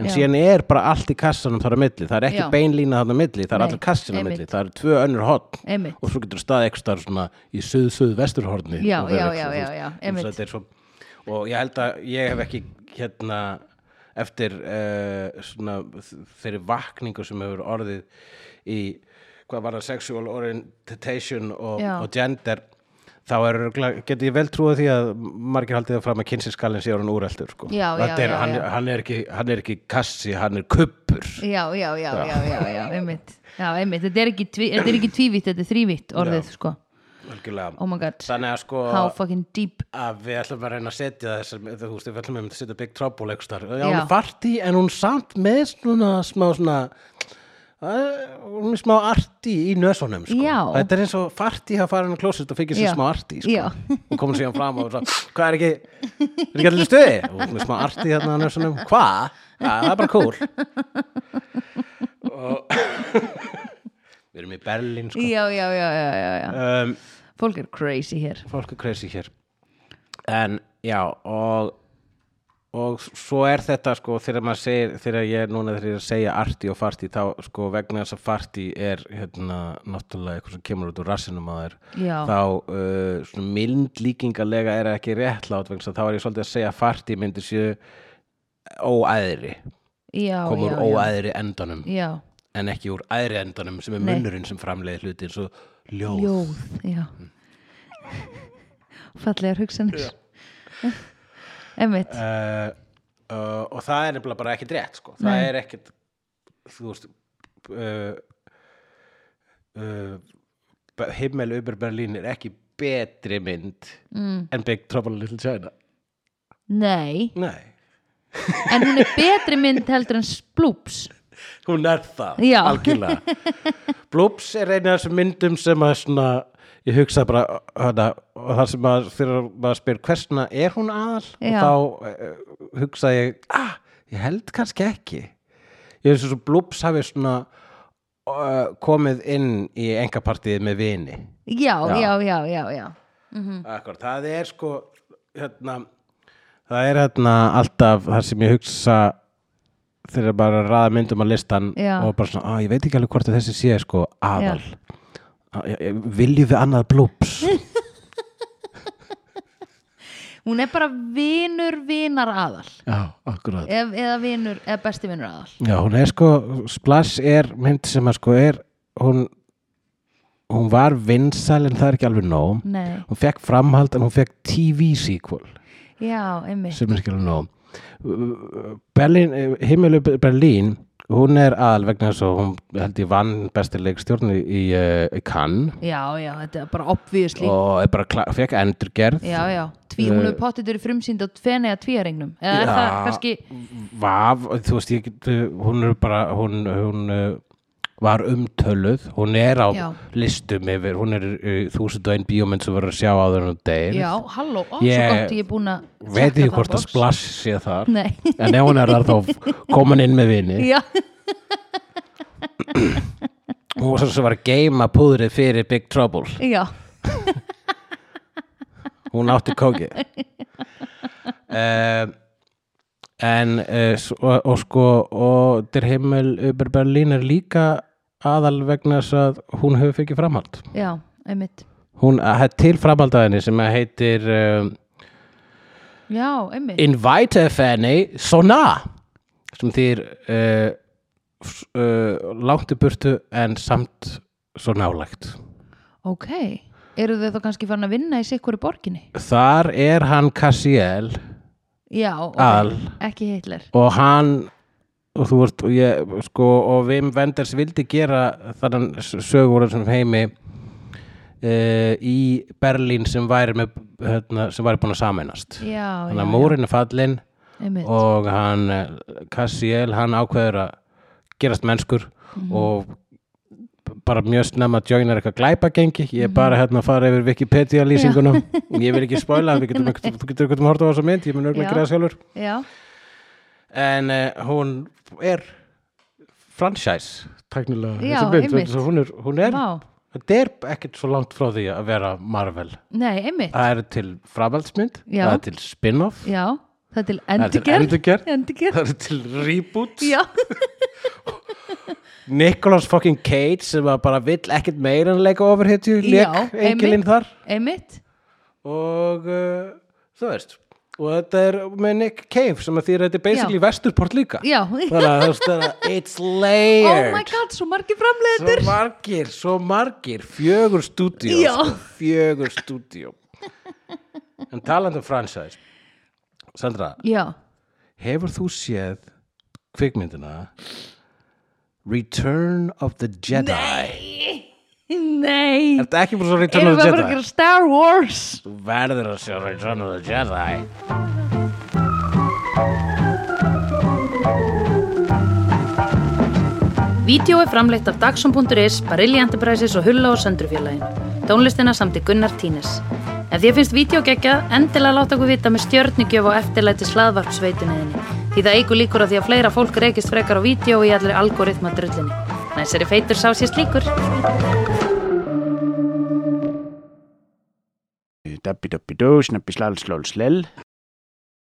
S2: en
S1: Já.
S2: síðan er bara allt í kassanum þar á milli, það er ekki
S1: Já.
S2: beinlína þarna á milli, það er
S1: Nei,
S2: allir kassin á milli
S1: einmitt.
S2: það eru tvö önnur hotn
S1: Einmitt.
S2: og svo getur staðið ekki þar svona í suð-suð vesturhorni
S1: Já,
S2: og verið
S1: já,
S2: eitthvað,
S1: já,
S2: þú
S1: já,
S2: veist.
S1: já,
S2: Þannig
S1: einmitt.
S2: að þetta er svo, og ég held að ég hef ekki hérna eftir uh, svona þeirri vakningu sem hefur orðið í hvað var það sexual orientation og,
S1: Já.
S2: og gender þá er, örugglega- geti ég vel trúið því að margir haldið það fram að kynsinskallin sé orðin úreldur sko.
S1: Já, já,
S2: Þetta er,
S1: já,
S2: hann,
S1: já.
S2: hann, er ekki, hann er ekki kassi, hann er kuppur
S1: já, já, já, já, já, já, einmitt já, einmitt, þetta er ekki, tví, þetta er ekki tvívitt þetta er þrívitt orðið, sko
S2: algjörlega
S1: oh my god,
S2: þannig að sko
S1: how fucking deep
S2: að við ætlum að reyna að setja þessar þú veist, við ætlum að setja Big Trouble einhvers staðar. já,
S1: Já.
S2: hún er farti en hún samt með svona smá svona að, hún er smá arti í nösunum sko.
S1: Já.
S2: þetta er eins og farti að fara hann að klósit og
S1: Já.
S2: fikk sér smá arti
S1: Já.
S2: sko. og komum síðan fram og svo, hvað er ekki er ekki allir í stuði og hún er smá arti hérna á nösunum hvað? Ja, það er bara cool og *laughs* við erum í Berlín sko.
S1: já, já, já, já, já, já.
S2: um,
S1: fólk er crazy hér
S2: fólk er crazy hér en já og og svo er þetta sko þegar maður segir, þegar ég er núna þegar ég er að segja arti og farti þá sko vegna þess að farti er hérna náttúrulega eitthvað sem kemur út úr rassinum að þér
S1: Já.
S2: þá uh, svona mynd líkingalega er það ekki réttlát vegna þess að þá er ég svolítið að segja að farti myndir séu óæðri
S1: já,
S2: komur
S1: já,
S2: úr óæðri endanum
S1: já, já.
S2: en ekki úr æðri endanum sem er
S1: Nei.
S2: munnurinn sem framleiði hluti eins og ljóð
S1: ljóð, já fallegar hugsanir emmitt
S2: uh, uh, og það er nefnilega bara ekkert rétt sko. það
S1: Nei.
S2: er ekkert þú veist uh, uh, Be- himmel yfir Berlín er ekki betri mynd
S1: mm,
S2: en Big Trouble in Little China
S1: nei,
S2: nei,
S1: en hún er betri mynd heldur en splúps
S2: hún er það
S1: Já.
S2: algjörlega Bloops er eina af þessum myndum sem að svona ég hugsa bara hana, og það sem að þegar maður spyr hversna er hún aðal
S1: Já.
S2: og þá uh, hugsa ég ah, ég held kannski ekki ég veist þessu Bloops hafi svona uh, komið inn í engapartíð með vini
S1: já,
S2: Já.
S1: já, já, já, já
S2: Akkur, það er sko hérna, það er hérna alltaf það sem ég hugsa þegar bara að raða myndum á listan
S1: Já.
S2: og bara svona, að ég veit ekki alveg hvort að þessi sé sko aðal
S1: Já. *laughs*
S2: Á, ég- ég- viljum við annað blúps
S1: hún er bara vinur vinar aðal
S2: já, akkurat
S1: Ef, eða vinur, eða besti vinur aðal
S2: Já, hún er sko, Splash er mynd sem að sko er, hún hún var vinsæl en það er ekki alveg nóg
S1: Nei,
S2: hún fekk framhald en hún fekk TV sequel
S1: já, einmitt
S2: sem er ekki alveg nóg Berlín, himmilu Berlín hún er aðal vegna þess að hún held ég vann bestileik stjórn í uh, Cannes
S1: Já, já, þetta er bara obvíðsli
S2: og er bara, kla- fekk endurgerð
S1: Já, já, Tví, hún hefur pottið verið frumsýnd á Fenei að tvíaringnum eða er
S2: Já.
S1: það kannski
S2: Vaf, þú veist, ég get, uh, hún er bara, hún, hún uh, var umtöluð, hún er á
S1: Já.
S2: listum yfir, hún er eh, þúsund og einn bíómynd sem verður að sjá á þennan degin.
S1: Já, halló, ó,
S2: Ég-
S1: svo gott ég er búin að checka
S2: Veit ég
S1: það,
S2: hvort að
S1: box.
S2: splass sé þar,
S1: *laughs* Nei,
S2: en ef hún er þar þá
S1: *laughs*
S2: kom hann inn með vini.
S1: já,
S2: Hún var svo sem var að geima púðrið fyrir Big Trouble.
S1: já
S2: hún átti kóki uh, en uh, og, og sko og Der Himmel über Berlin er líka aðal vegna þess að hún hefur fikið framhald
S1: Já, einmitt
S2: hún að til framhald að henni sem að heitir um,
S1: Já, einmitt
S2: Invite Fanny Sona sem þýr uh, s- uh, langt í burtu en samt svo nálægt
S1: Ok, eru þau þá kannski farin að vinna í sikkur borginni?
S2: þar er hann Cassiel
S1: Já, ok,
S2: Al.
S1: ekki Hitler
S2: og hann og þú veist, og ég, sko og Wim Wenders vildi gera þannan sögur sem heimi uh, í Berlín sem væri með, hérna, sem væri búin að sameinast
S1: Já,
S2: þannig
S1: já,
S2: að múrin er fallin
S1: einmitt
S2: og hann eh, Cassiel, hann ákveður að gerast mennskur
S1: Mhm.
S2: og bara mjög snemma að joinar eitthvað glæpagengi, ég er
S1: Mhm.
S2: bara hérna að fara yfir Wikipedia lýsinguna, ég vil ekki spoila, við
S1: *laughs*
S2: getum, einhvern- þú getur eitthvað að horta á þessa mynd, ég mun
S1: Já.
S2: örgulega að gera það sjálfur
S1: Já,
S2: en uh, hún er franchise tæknilega
S1: Já,
S2: þessi mynd,
S1: einmitt.
S2: vegna þess að hún er, hún er
S1: vá
S2: þetta er ekkert svo langt frá því að vera Marvel
S1: Nei, einmitt
S2: það er til framhaldsmynd
S1: Já.
S2: það er til spin-off
S1: Já, það er til
S2: það er til
S1: endurgerð
S2: endurgerð
S1: Endurgerð,
S2: það er til reboot *laughs*
S1: já
S2: Nicolas fucking Cage sem var bara vill ekkert meira en leika ofurhetju
S1: Já,
S2: leik engilinn
S1: einmitt.
S2: þar
S1: Einmitt,
S2: og uh, þú veist og þetta er með Nick Cave sem að því að þetta er basically vesturport líka
S1: já
S2: þannig að þú veist það er it's
S1: *laughs* Oh
S2: layered
S1: my god, svo margir framleiðendur
S2: Svo margir, svo margir, fjögur stúdíó,
S1: Já.
S2: sko, fjögur stúdíó. En talandi um franchise, Sandra,
S1: Já, *laughs*
S2: hefur þú séð kvikmyndina Return of the Jedi? Nei!
S1: nei
S2: Er þetta ekki bara svo Return
S1: Erum
S2: of
S1: við
S2: the
S1: bara að
S2: Jedi?
S1: gera Star Wars
S2: Þú verður að sjá Return of the Jedi.
S3: Vídeó er framleitt af Dagsum.is, Barilli Enterprises og Hulla og Söndrufjörlægin. Tónlistina samt í Gunnar Tínes. Ef þér finnst vídeo geggjað, endilega láta okkur vita með stjörnugjöf og eftirlæti slaðvarpsveitunniðinni. Því það eigur líkur að því að fleira fólk reykist frekar á vídeo og í allir algoritma drullinni. Næsari feitur sá sér slíkur.
S4: Dabbi dabbi dó, snabbi slal slól slell